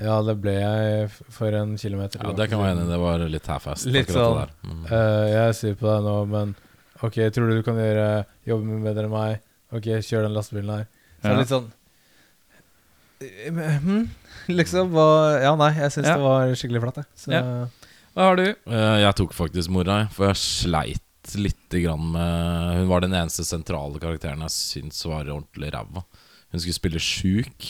Ja, det ble jeg f- for en kilometer. Ja, Det kan jeg være enig i. Det var litt half-assed. Litt akkurat sånn. det der. Mm. Eh, jeg er sur på deg nå, men OK, tror du du kan gjøre jobben min bedre enn meg? OK, kjør den lastebilen her. Så det Ja. er litt sånn eh, men, hm, Liksom hva Ja, nei, jeg syns Ja. det var skikkelig flatt, jeg. Så, Ja. hva har du? Eh, Jeg tok faktisk mora, jeg, for jeg sleit lite grann med Hun var den eneste sentrale karakteren jeg syntes var ordentlig ræva. Hun skulle spille sjuk.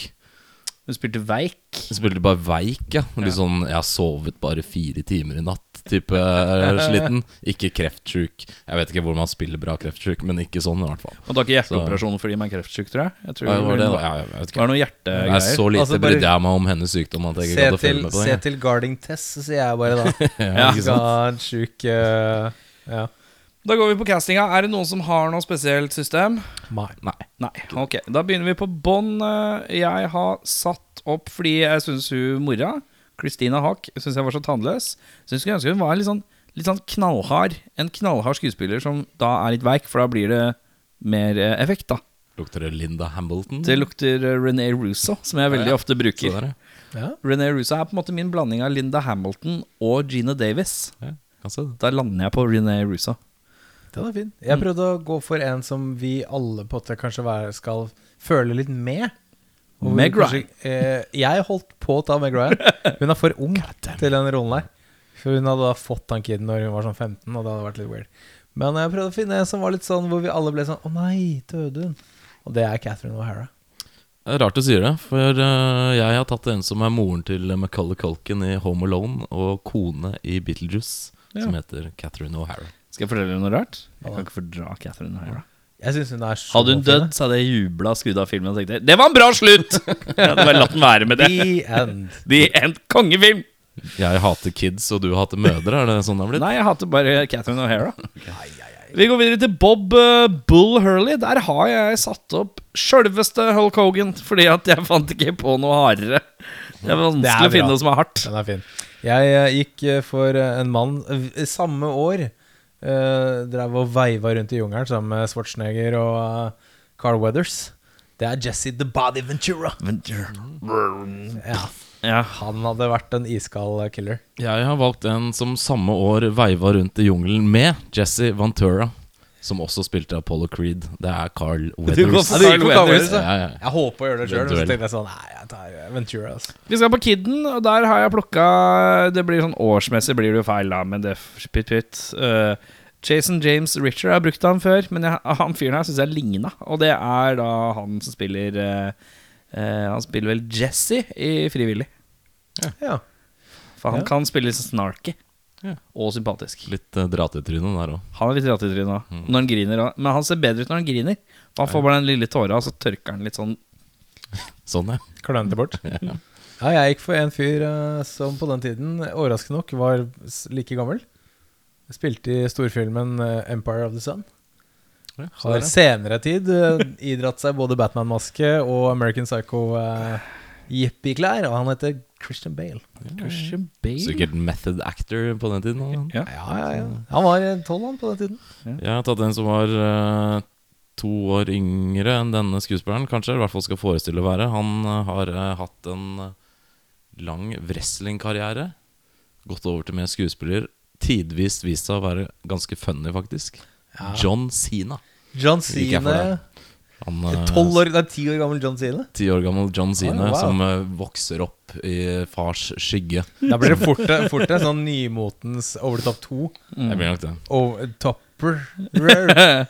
Hun spilte veik. Hun spilte bare veik, ja. Litt sånn 'jeg har sovet bare fire timer i natt'-type sliten. Ikke kreftsjuk. Jeg vet ikke hvor man spiller bra kreftsjuk, men ikke sånn i hvert fall. Og du har ikke hjerteoperasjon fordi man er kreftsyk, tror jeg? jeg tror Ja, det var det, da. noe- Ja, jeg vet det var noe ikke. Nei, hjertegreier. så lite Altså, bare- brydde jeg meg om hennes sykdom at jeg ikke se, gadd til, å følge med på se det. til guarding test, så sier jeg bare da. Ja, ikke Skal sant? sjuk eh, Ja. Da går vi på castinga. Er det noen som har noe spesielt system? Nei. Nei. Ok, da begynner vi på bånn. Eh, Jeg har satt opp fordi jeg syns hun mora, Christina Haak, syns jeg var så tannløs. Syns jeg ønsker hun var litt sånn, litt sånn knallhard. En knallhard skuespiller som da er litt veik, for da blir det mer eh, effekt, da. Lukter det Linda Hamilton? Det lukter eh, René Russo, som jeg veldig ofte Så bruker. der, ja. Ja. René Russo er på en måte min blanding av Linda Hamilton og Gina Davis. Ja, kan se det. Da lander jeg på René Russo. Den er fin. Jeg Mm. prøvde å gå for en som vi alle på at kanskje være, skal føle litt med. Og hvor Meg vi kanskje- eh, jeg holdt på å ta Meg Ryan. Hun er for ung til den rollen der. For hun hadde da fått han kiden når hun var sånn 15, og det hadde vært litt weird. Men jeg prøvde å finne en som var litt sånn hvor vi alle ble sånn Å nei, døde hun? Og det er Catherine O'Hara. Det er Rart du sier det, for eh, jeg har tatt en som er moren til McCullough Culkin i Home Alone, og kone i Beetlejuice, som heter Catherine O'Hara. Skal jeg fortelle deg noe rart? Jeg kan ikke fordra Catherine Hara. Jeg syns hun er så Hadde hun dødd, så hadde jeg jubla og skrudd av filmen og tenkte Det var en bra slutt! Jeg hadde bare latt den være med det. The end. De en kongefilm! Jeg hater kids, og du hater mødre, er det sånn det har blitt? Nei, jeg hater bare Catherine O'Hara. Vi går videre til Bob eh, Bull Hurley. Der har jeg satt opp sjølveste Hulk Hogan, fordi at jeg fant ikke på noe hardere. Det er vanskelig Det er å finne bra. noe som er hardt. Den er fin. Jeg eh, gikk eh, for eh, en mann eh, samme år. eh, drev og veiva rundt i jungelen sammen med Schwarzenegger og eh, Carl Weathers. Det er Jesse The Body Ventura. Ja, Ja. han hadde vært en iskald eh, killer. Jeg har valgt en som samme år veiva rundt i jungelen med Jesse Ventura, som også spilte Apollo Creed. Det er Carl går Weathers. for Ja, du gikk for Carl Weathers, ja. ja. ja, ja. Jeg holdt på å gjøre det sjøl, Det er men så duell. tenkte jeg sånn Nei, jeg tar eh, Ventura. Altså. Vi skal på Kidden, og der har jeg plukka Det blir sånn årsmessig blir det jo feil, da, men det er pytt pytt. Eh, Jason James Richer har brukt han før, men jeg, han fyren her syns jeg ligna. Og det er da han som spiller eh, eh, Han spiller vel Jesse i Frivillig. Ja. For han Ja. kan spille snarky. Ja. Og sympatisk. Litt uh, dratetryne der òg. Han er litt ratete i trynet også, Mm. når han griner. også. Men han ser bedre ut når han griner. Han får bare den lille tåra, og så tørker han litt sånn. Sånn, ja. Klønete bort. ja. Ja, jeg gikk for en fyr eh, som på den tiden, overraskende nok, var s- like gammel. Spilte i storfilmen eh, 'Empire of the Sun'. Ja, så Har der, ja. senere tid eh, idratt seg både Batman-maske og American Psycho-jippi-klær, og han heter Christian Bale. Christian Bale. Sikkert method actor på den tiden. da. Ja. Ja, ja, ja. Mm. Han var eh, tolv, han, på den tiden. Jeg har tatt en som var eh, to år yngre enn denne skuespilleren, kanskje. I hvert fall skal forestille å være. Han eh, har eh, hatt en eh, lang wrestlingkarriere. Gått over til mer skuespiller. Tidvis vist seg å være ganske funny, faktisk. John Sina. John Gikk jeg for Sine. Han, eh, Tolv år, nei, ti år gammel John Sine. Ti år gammel John Sina Oi, wow. som eh, vokser opp i fars skygge. Da blir det fort, fort en sånn nymotens over the top 2. Jeg blir nok det. Over, topper. Rare.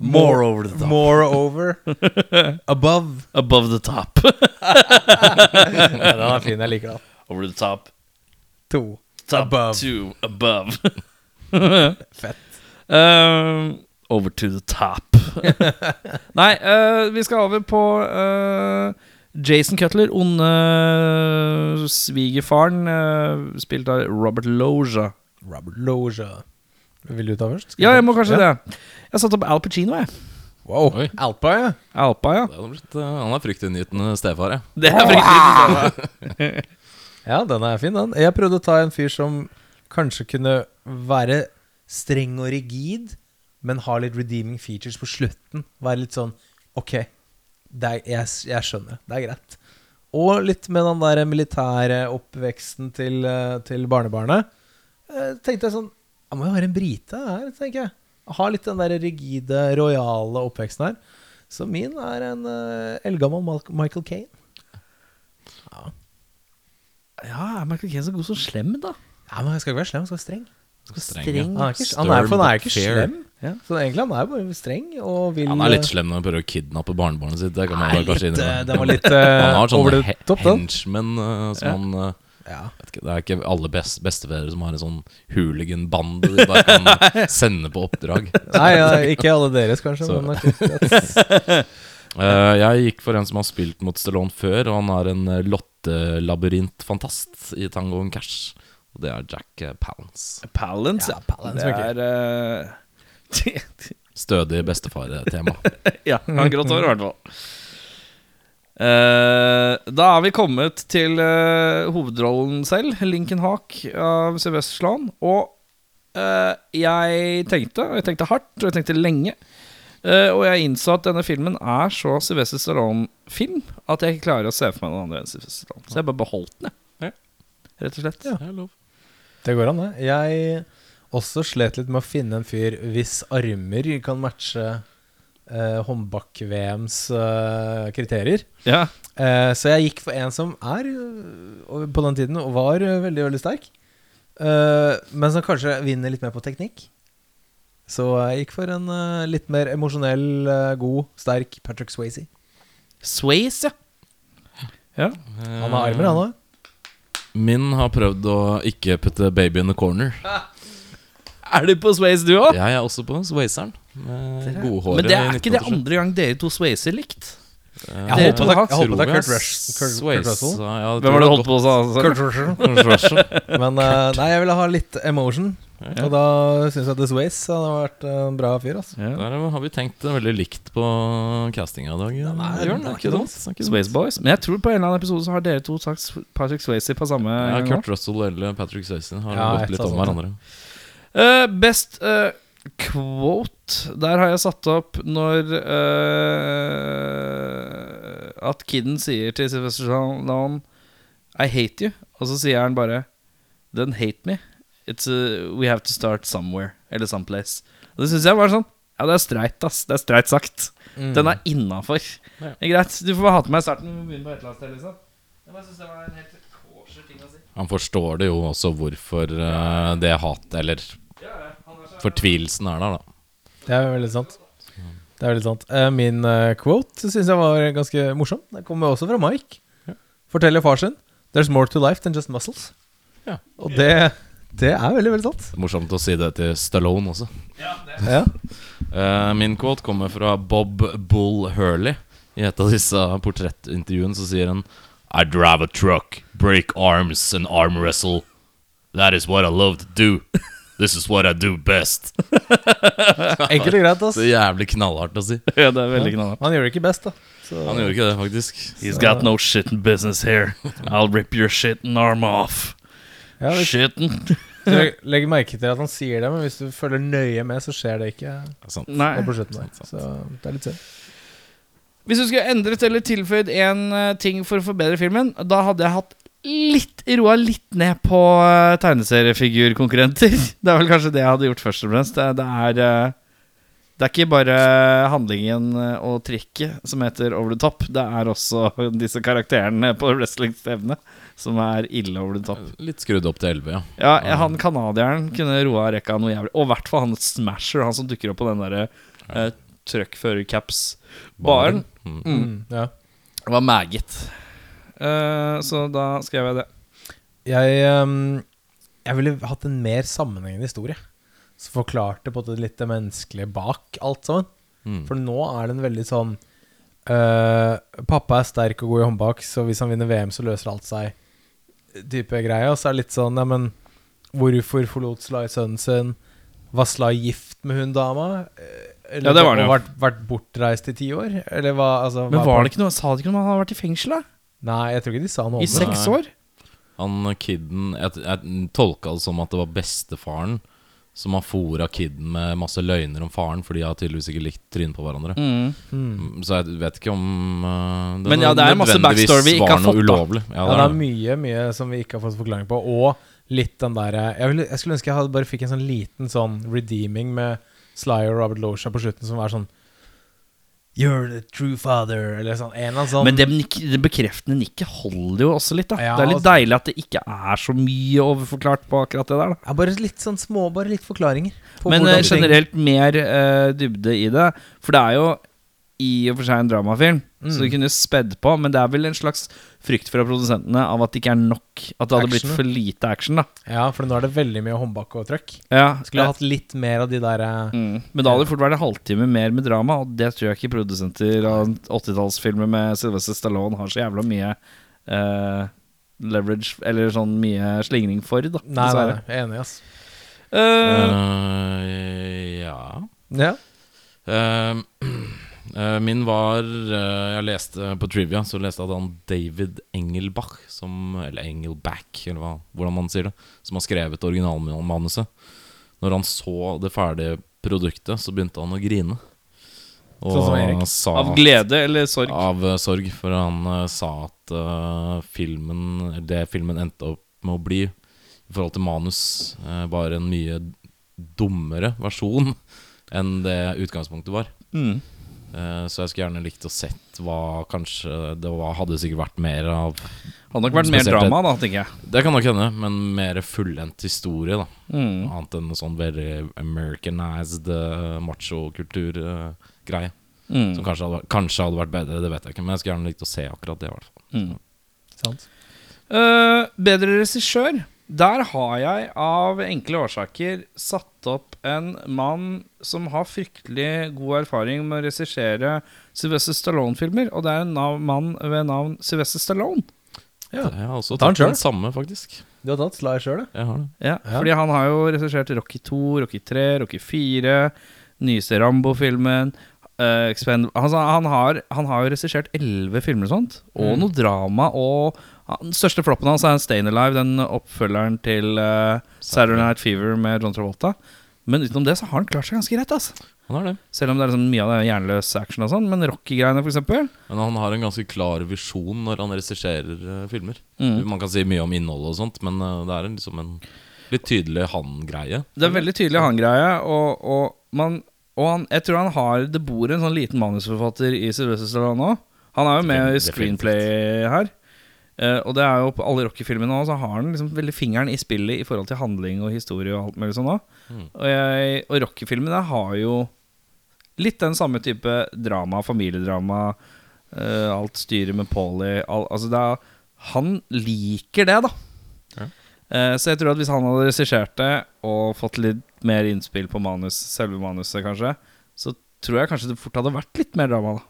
More over the top. More over. Above. Above the top. Ja, den er fin, jeg liker den. over the top. To. Top Above. to above. Fett. Eh, over to the top. Nei, eh, vi skal over på eh, Jason Cutler, onde svigerfaren, eh, spilt av Robert Loja. Robert Loja. Vil du ta først? Ja, jeg må kanskje det. Jeg satte opp Al Pacino, jeg. Wow. Oi. Alpa, ja. Alpa, ja. Det hadde blitt, eh, han er fryktinngytende stefar, ja. Det er fryktelig. Ja, den er fin, den. Jeg prøvde å ta en fyr som kanskje kunne være streng og rigid, men ha litt redeeming features på slutten. Være litt sånn Ok, det er, jeg, jeg skjønner. Det er greit. Og litt med den der militære oppveksten til, eh, til barnebarnet. Eh, tenkte jeg sånn Jeg må jo være en brite her, tenker jeg. Ha litt den der rigide, rojale oppveksten her. Så min er en eh, eldgammel Mal- Michael Kane. Ja, er Michael Caine så god som slem, da? Ja, men Jeg skal ikke være slem, jeg skal være streng. Han Streng. er ikke, han Stern, er, for han er but ikke fair. slem. Så egentlig han er bare streng og vil Han er litt slem når han prøver å kidnappe barnebarnet sitt. Det kan man eh, Nei, vel kanskje litt, innrømme. eh, den var litt, eh, Han har over sånne the he top, den. henchmen eh, som han eh, Ja. vet ikke, Det er ikke alle best bestefedre som har en sånn hooligan-bande de bare kan sende på oppdrag. Nei, ja, ikke alle deres, kanskje. Så- Men akkurat- Eh, jeg gikk for en som har spilt mot Stallone før, og han er en eh, lottelabyrint-fantast i Tangoen Cash. Og det er Jack eh, Palance. Palance, ja. Palance, ok. det er eh, Stødig bestefar-tema. Ja, han har grått hår, i hvert fall. Eh, da er vi kommet til eh, hovedrollen selv, Lincoln Hawk av Sylvester Sloan. Og eh, jeg tenkte, og jeg tenkte hardt, og jeg tenkte lenge. eh, og jeg innså at denne filmen er så Sylvester Stallone-film at jeg ikke klarer å se for meg noen andre enn Sylvester Stallone. Så jeg bare beholdt den, Ja. jeg. Rett og slett. Det går an, det. Jeg også slet litt med å finne en fyr hvis armer kan matche eh, håndbak-VMs eh, kriterier. Ja. Eh, så jeg gikk for en som er øh, og På den tiden og var øh, veldig, veldig sterk. Eh, men som kanskje vinner litt mer på teknikk. Så jeg gikk for en eh, litt mer emosjonell, eh, god, sterk Patrick Swayze. Sways, ja. Han har armer, han òg. Min har prøvd å ikke putte baby in the corner. Er du på Sways, du òg? Jeg er også på Swayzeren. Med godhåret. Men det er i ikke det 1987. andre gang dere to swayser likt. Jeg Dere holdt to på det. har- jeg holdt på det er Kurt Tror jeg Rush- Kurt- Kurt Swayze, Russell. ja, det Hvem tror har du jeg holdt på å sa? sa- Kurt Russell. Men eh, nei, jeg ville ha litt emotion. Og da syns jeg The Swayze hadde vært en bra fyr. Altså. Ja. Der har vi tenkt veldig likt på castinga i dag. er- Jørn, den er ikke ikke dumt. Det er ikke dumt. Sways Boys. Men jeg tror på en eller annen episode så har dere to sagt Patrick Swayze på samme Ja, gang. Kurt Russell eller Patrick Swayze har Ja, gått jeg litt sa om sånt, hverandre. Eh, best eh, quote Der har jeg satt opp når eh, At kiden sier til Sylvester Stallone I hate you. Og så sier han bare Don't hate me. It's a, we have to start somewhere. Eller someplace. Og det syns jeg var sånn Ja, det er streit, ass. Det er streit sagt. Mm. Den er innafor. Ja. Det er Greit. Du får ha til meg i starten. Vi må begynne på et eller annet sted, liksom. Jeg bare synes det var en helt kosher ting å si. Han forstår det jo også hvorfor eh, det hatet, eller Ja, ja. Han er så fortvilelsen, er der, da. Det er veldig sant. Det er veldig sant. Eh, min eh, quote syns jeg var ganske morsom. Den kommer også fra Mike. Forteller far sin. There's more to life than just muscles. Ja. Og det, det er veldig, veldig sant. Morsomt å si det til Stallone også. Ja. Eh, min quote kommer fra Bob Bull Hurley. I et av disse portrettintervjuene så sier han I drive a truck, break arms and arm wrestle. That is what I love to do. This is what I do best. Enkelt og greit, ass. Så jævlig knallhardt å si. Ja, det er veldig knallhardt. Han gjør det ikke best, da. Så, Han gjorde ikke det, faktisk. He's got no shit in business here. I'll rip your shit and arm off. ja, hvis Shitten. du legger merke til at han sier det, men hvis du følger nøye med, så skjer det ikke Sant. Nei. på slutten der. Så det er litt synd. Hvis du skulle endret eller tilføyd én ting for å forbedre filmen, da hadde jeg hatt litt roa litt ned på eh, tegneseriefigurkonkurrenter. Det er vel kanskje det jeg hadde gjort først og fremst. Det, det er eh, Det er ikke bare handlingen eh, og trikket som heter over the top. Det er også disse karakterene på wrestlingstevnet som er ille over the top. Litt skrudd opp til 11, ja. Ja, han kanadieren kunne roa rekka noe jævlig. Og i hvert fall han Smasher, han som dukker opp på den derre eh, truckførercaps-baren. Mm. Mm. Ja. Det var meget. Eh, så da skrev jeg det. Jeg, ehm, jeg ville hatt en mer sammenhengende historie. Som forklarte på en måte litt det menneskelige bak alt sammen. Mm. For nå er den veldig sånn eh, Pappa er sterk og god i håndbak, så hvis han vinner VM, så løser alt seg. Type greie. Og så er det litt sånn Neimen, hvorfor forlot Sly sønnen sin? Var Sly gift med hun dama? Eh, Eller Ja, det var han og jo. Vært, vært bortreist i ti år? Eller hva altså, Men hva- var det ikke noe, sa de ikke noe om han hadde vært i fengsel? da? Nei, jeg tror ikke de sa noe om I det. seks Nei. år? Han eh, kidden jeg, jeg tolka det som at det var bestefaren som har fora kidden med masse løgner om faren, for de har tydeligvis ikke likt trynet på hverandre. Mm, Så jeg vet ikke om eh, Men ja, det er masse nødvendigvis backstory vi ikke har var noe fått, da. Ulovlig. Ja, Ja, det er det. mye mye som vi ikke har fått forklaring på. Og litt den derre jeg, ville- jeg skulle ønske jeg hadde bare fikk en sånn liten sånn redeeming med Sly og Robert Losha på slutten, som var sånn You're the true father, eller sånn. En eller annen sånn Men det, nik- det bekreftende nikket holder jo også litt. da Ja, Det er litt altså- deilig at det ikke er så mye overforklart på akkurat det der. da ja, Bare litt sånn små, bare litt forklaringer. på Men hvordan eh, ting- generelt mer eh, dybde i det. For det er jo i og for seg en dramafilm, Mm. så du kunne spedd på. Men det er vel en slags frykt fra produsentene av at det ikke er nok. At det hadde Action, blitt for lite action. da Ja, for nå er det veldig mye håndbak og trøkk. ja, Skulle hatt litt mer av de der eh, Mm. Men da hadde det fort vært en halvtime mer med drama, og det tror jeg ikke produsenter av 80-tallsfilmer med Sylvester Stallone har så jævla mye eh, leverage Eller sånn mye slingring for, da. Nei, nei, nei, dessverre. jeg er enig, ass. Eh, Eh, ja. Ja. Eh, eh, min var eh, Jeg leste på Trivia Så leste jeg at han David Engelbach som, Eller Engelback Eller hva, hvordan man sier det Som har skrevet originalmanuset Når han så det ferdige produktet Så begynte han å grine Og Sånn som Erik. sa av glede eller sorg. av eh, sorg, for han eh, sa at eh, filmen, det filmen endte opp med å bli, i forhold til manus, eh, var en mye dummere versjon enn det utgangspunktet var. Mm. Eh, så jeg skulle gjerne likt å sett hva kanskje det var, hadde sikkert vært mer av Hadde nok vært mer Spesielt drama, da, tenker jeg. Det kan nok hende, men mer fullendt historie, da. Mm. Annet enn sånn veldig americanized uh, machokultur-greie. Mm. Som kanskje hadde, vært- kanskje hadde vært bedre, det vet jeg ikke, men jeg skulle gjerne likt å se akkurat det, i hvert fall. Mm. Sant. Eh, bedre regissør. Der har jeg av enkle årsaker satt opp en mann som har fryktelig god erfaring med å regissere Sylvester Stallone-filmer, og det er en nav mann ved navn Sylvester Stallone. Ja. Jeg har også Ta den tatt den selv. samme, faktisk. Du har tatt Sly sjøl, du? Jeg har det. Ja, Ja. Fordi han har jo regissert Rocky 2, Rocky 3, Rocky 4, nyeste Rambo-filmen eh, Expend- altså, han, har, han har jo regissert elleve filmer og sånt, og noe drama. Og han- den største floppen hans er Stayin' Alive, den oppfølgeren til eh, Saturday Night Fever med John Travolta. Men utenom det så har han klart seg ganske greit. Altså. Han har det. Selv om det er liksom mye av det er jernløs action og sånn. Men Rocky-greiene, for eksempel. Men han har en ganske klar visjon når han regisserer eh, filmer. Mm. Man kan si mye om innholdet og sånt, men eh, det er en- liksom en litt tydelig han-greie. Det er veldig tydelig han greie, og, og, man, og han, jeg tror han har Det bor en sånn liten manusforfatter i Sylvester Stallone òg. Han er jo med i Definitivt. screenplay her. Eh, og det er jo på alle Rocky-filmene òg, så har han liksom veldig fingeren i spillet i forhold til handling og historie og alt mulig sånn òg. Mm. Og, jeg- og Rocky-filmene har jo litt den samme type drama, familiedrama, eh, alt styret med Paulie al, Altså det er Han liker det, da. Eh, Så jeg tror at hvis han hadde regissert det og fått litt mer innspill på manus, selve manuset, kanskje, så tror jeg kanskje det fort hadde vært litt mer drama, da.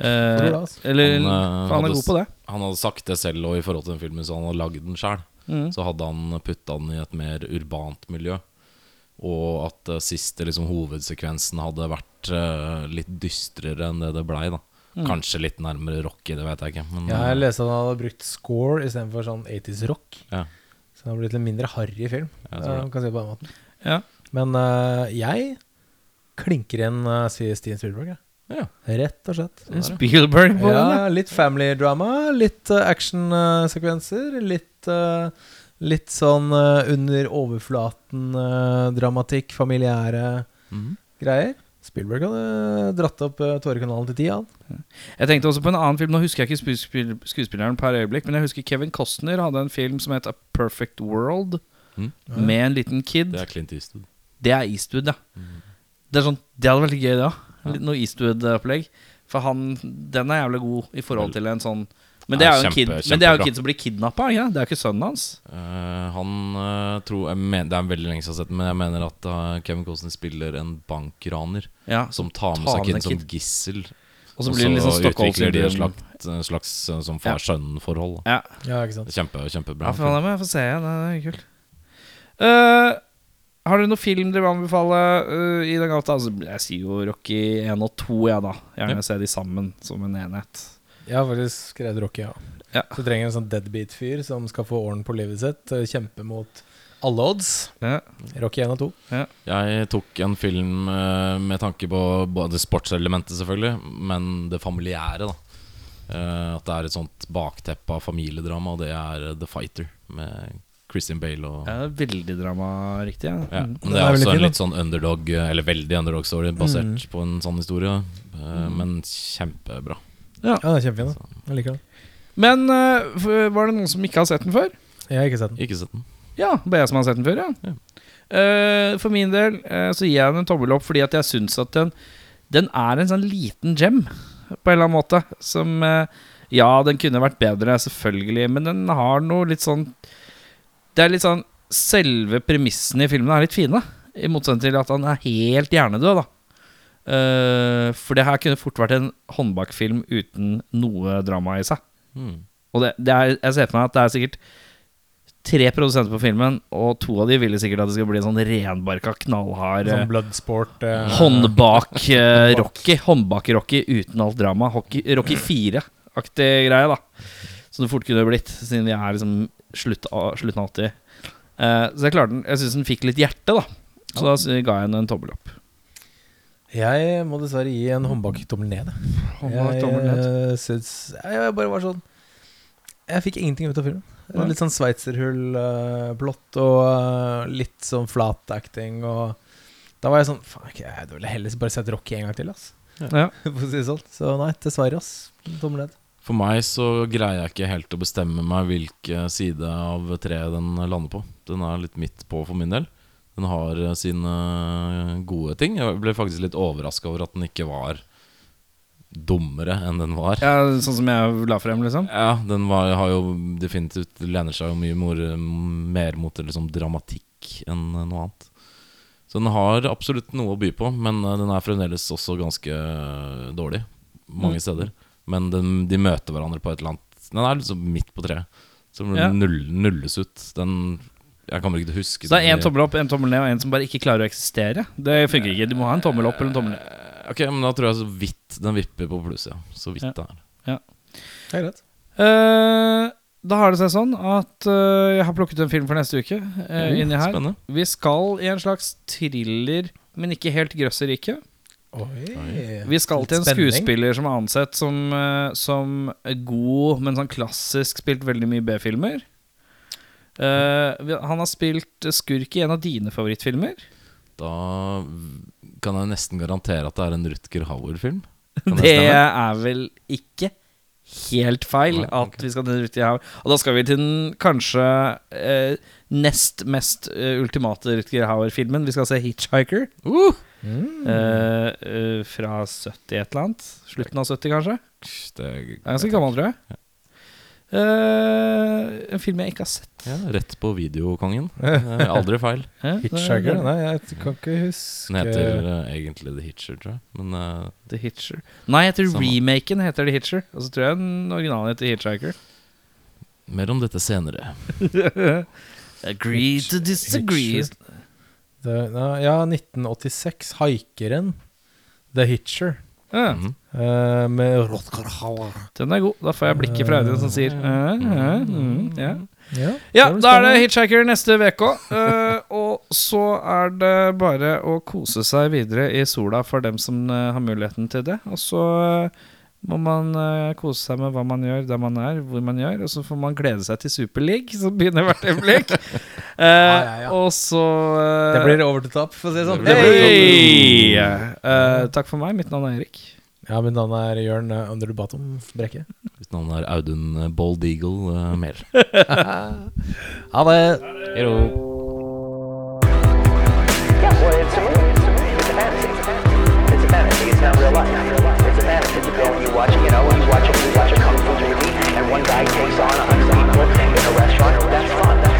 Eh, Tror du det, altså? eller Han, eh, For han hadde er god på det. Han hadde sagt det selv og i forhold til den filmen, så han hadde lagd den sjøl. Mm. Så hadde han putta den i et mer urbant miljø. Og at eh, siste liksom, hovedsekvensen hadde vært eh, litt dystrere enn det det blei. da. Mm. Kanskje litt nærmere rocky, det vet jeg ikke. Men, Mm. eh, Ja, jeg leste at han hadde brukt score istedenfor sånn 80s rock. Ja. Så det har blitt en mindre harry film. Jeg tror eh, kan si det på den måten. Ja. Men eh, jeg klinker inn uh, sier Steven Spielberg, jeg. Ja. Rett og slett. Spielberg på den, ja. Ja, litt family drama, litt uh, actionsekvenser, litt eh, Litt sånn eh, under overflaten-dramatikk, familiære Mhm. greier. Spielberg hadde dratt opp eh, tårekanalen til ti, han. Jeg tenkte også på en annen film. Nå husker jeg ikke skuespill- skuespilleren per øyeblikk, men jeg husker Kevin Costner hadde en film som het A Perfect World, Mm. med en liten kid. Det er Clint Eastwood. Det er Eastwood, ja. Mm. Det, er sånn, det hadde vært litt gøy, det òg. Noe Eastwood-opplegg. For han, den er jævlig god i forhold til en sånn Men det Ja, er jo en kid, kjempe- men det er jo kjempebra. en kid som blir kidnappa, ikke det? Det er jo ikke sønnen hans. Eh, han eh, tror jeg men, Det er veldig lenge siden jeg har sett den, men jeg mener at eh, Kevin Costner spiller en bankraner Ja, som tar med Tar seg med kiden som kid. gissel. Og så blir det litt sånn utvikler de et Stockholm-syndrom. slags, slags eh, sånn Ja. far-sønn-forhold. da. Ja. Ja, ikke sant? Kjempe, kjempebra. ja, for han er med. Jeg får se. Det er kult. Eh, har dere noen film dere vil anbefale eh, i den gata? Altså, jeg sier jo Rocky 1 og 2, jeg, da. Gjerne Ja. se de sammen som en enhet. Jeg har faktisk skrevet Rocky, ja. Ja. Så trenger en sånn deadbeat-fyr som skal få orden på livet sitt. eh, Kjempe mot alle odds. Ja. Rocky 1 og 2. Jeg tok en film eh, med tanke på både sportselementet, selvfølgelig, men det familiære. da Eh, At det er et sånt bakteppe av familiedrama, og det er eh, The Fighter med Christian Bale og Ja, det er veldig dramariktig. Ja. Ja, Mm. men Den er det er veldig fin, da. også en Mm. litt sånn underdog, eller veldig underdog-story, basert på en sann historie. eh, Men kjempebra. Ja, den er kjempefin. Altså. da. Jeg liker den. Men eh, f- var det noen som ikke har sett den før? Jeg har ikke sett den. Ikke sett den. Ja, bare jeg som har sett den før, ja. Ja. Eh, for min del eh, så gir jeg den en tommel opp fordi at jeg syns at den, den er en sånn liten gem, på en eller annen måte. Som eh, Ja, den kunne vært bedre, selvfølgelig, men den har noe litt sånn Det er litt sånn Selve premissene i filmen er litt fine, i motsetning til at han er helt hjernedød, da. Eh, for det her kunne fort vært en håndbakfilm uten noe drama i seg. Mm. Og det, det er, jeg ser for meg at det er sikkert tre produsenter på filmen, og to av de ville sikkert at det skal bli en sånn renbarka, knallhard Sånn bloodsport eh, håndbak-rocky. Håndbak-rocky uten alt drama. Hockey, rocky 4-aktig greie, da. Som det fort kunne blitt, siden vi er liksom slutt av- slutten av 80. Eh, så jeg klarte den. Jeg syns den fikk litt hjerte, da. Så da sy- ga jeg den en tommel opp. Jeg må dessverre gi en håndbaktommel ned. jeg. Jeg eh, syns jeg, jeg bare var sånn Jeg fikk ingenting ut av filmen. Det var Nei. Litt sånn sveitserhull-plott og eh, litt sånn flat acting og Da var jeg sånn Faen, ok, jeg ville heller bare sett Rocky en gang til, ass. Ja. For å si det sånn. Så nei, dessverre, ass. Tommel ned. For meg så greier jeg ikke helt å bestemme meg hvilken side av treet den lander på. Den er litt midt på for min del. Den har eh, sine eh, gode ting. Jeg ble faktisk litt overraska over at den ikke var dummere enn den var. ja, sånn som jeg la frem, liksom? Ja, den var, har jo definitivt lener seg jo mye more, mer mot liksom, dramatikk enn eh, noe annet. Så den har absolutt noe å by på, men eh, den er fremdeles også ganske eh, dårlig mange Mm. steder. Men den, de møter hverandre på et eller annet Den er liksom midt på treet. Så den Ja. null, nulles ut. Den Jeg kommer ikke til å huske Så det er den én i- tommel opp, én tommel ned og én som bare ikke klarer å eksistere. Det funker ikke. Du må ha en tommel opp eller en tommel ned. Eh, Ok, men da tror jeg så vidt den vipper på pluss, ja. Så vidt Ja. det er. Det er greit. Eh, da har det seg sånn at eh, jeg har plukket en film for neste uke. eh, inni her Mm, Spennende. Vi skal i en slags thriller, men ikke helt grøsserike. Oi. Vi skal til en Spenning. skuespiller som er ansett som, eh, som god, men sånn klassisk spilt veldig mye B-filmer. Eh, vi- han har spilt skurk i en av dine favorittfilmer. Da v- kan jeg nesten garantere at det er en Rutger Hauer-film. Kan Det stemme? er vel ikke helt feil Nei, at vi skal til den riktige Hauer. Og da skal vi til den kanskje eh, nest mest eh, ultimate Rutger Hauer-filmen. Vi skal se 'Hitchhiker' eh, eh, fra 70 et eller annet. Slutten av 70, kanskje. Det, Det er ganske gammel, tror jeg. Eh, en film jeg ikke har sett. Ja, rett på videokongen. Det er Aldri feil. Hæ? Hitchhiker? Nei, jeg kan ikke huske Den heter eh, egentlig The Hitcher, tror jeg. Men eh, The Hitcher. Nei, jeg tror Samme. remaken heter The Hitcher. Og så tror jeg den originale heter Hitchhiker. mer om dette senere. Agree to disagree. Hitcher. Det, nei, ja, 1986. Haikeren. The Hitcher. Ja, Mhm. eh, med Rodgar Hauer. den er god. Da får jeg blikket fra Audun som sier eh, eh, mm, ja. Ja, ja, blir da er det spennende. Hitchhiker neste uke. eh, og så er det bare å kose seg videre i sola for dem som eh, har muligheten til det. Og så eh, må man eh, kose seg med hva man gjør, der man er, hvor man gjør. Og så får man glede seg til Super League, som begynner hvert øyeblikk. Eh, ja, ja. Og så eh, Det blir over the top, for å si det sånn. Det blir- Hei! Eh, takk for meg. Mitt navn er Erik. Ja, mitt navn er Jørn eh, Under the Bottom Brekke. Hvis noen er Audun eh, Bold Eagle eh, Mehl. Ha det! Hello. Yeah, well, it's a movie. It's a movie. It's a fantasy. It's a fantasy. It's not real life. It's a fantasy. You go and you watch, you know, you watch, a- you watch a kung fu movie, and one guy takes on a hundred people in a restaurant. That's fun. That's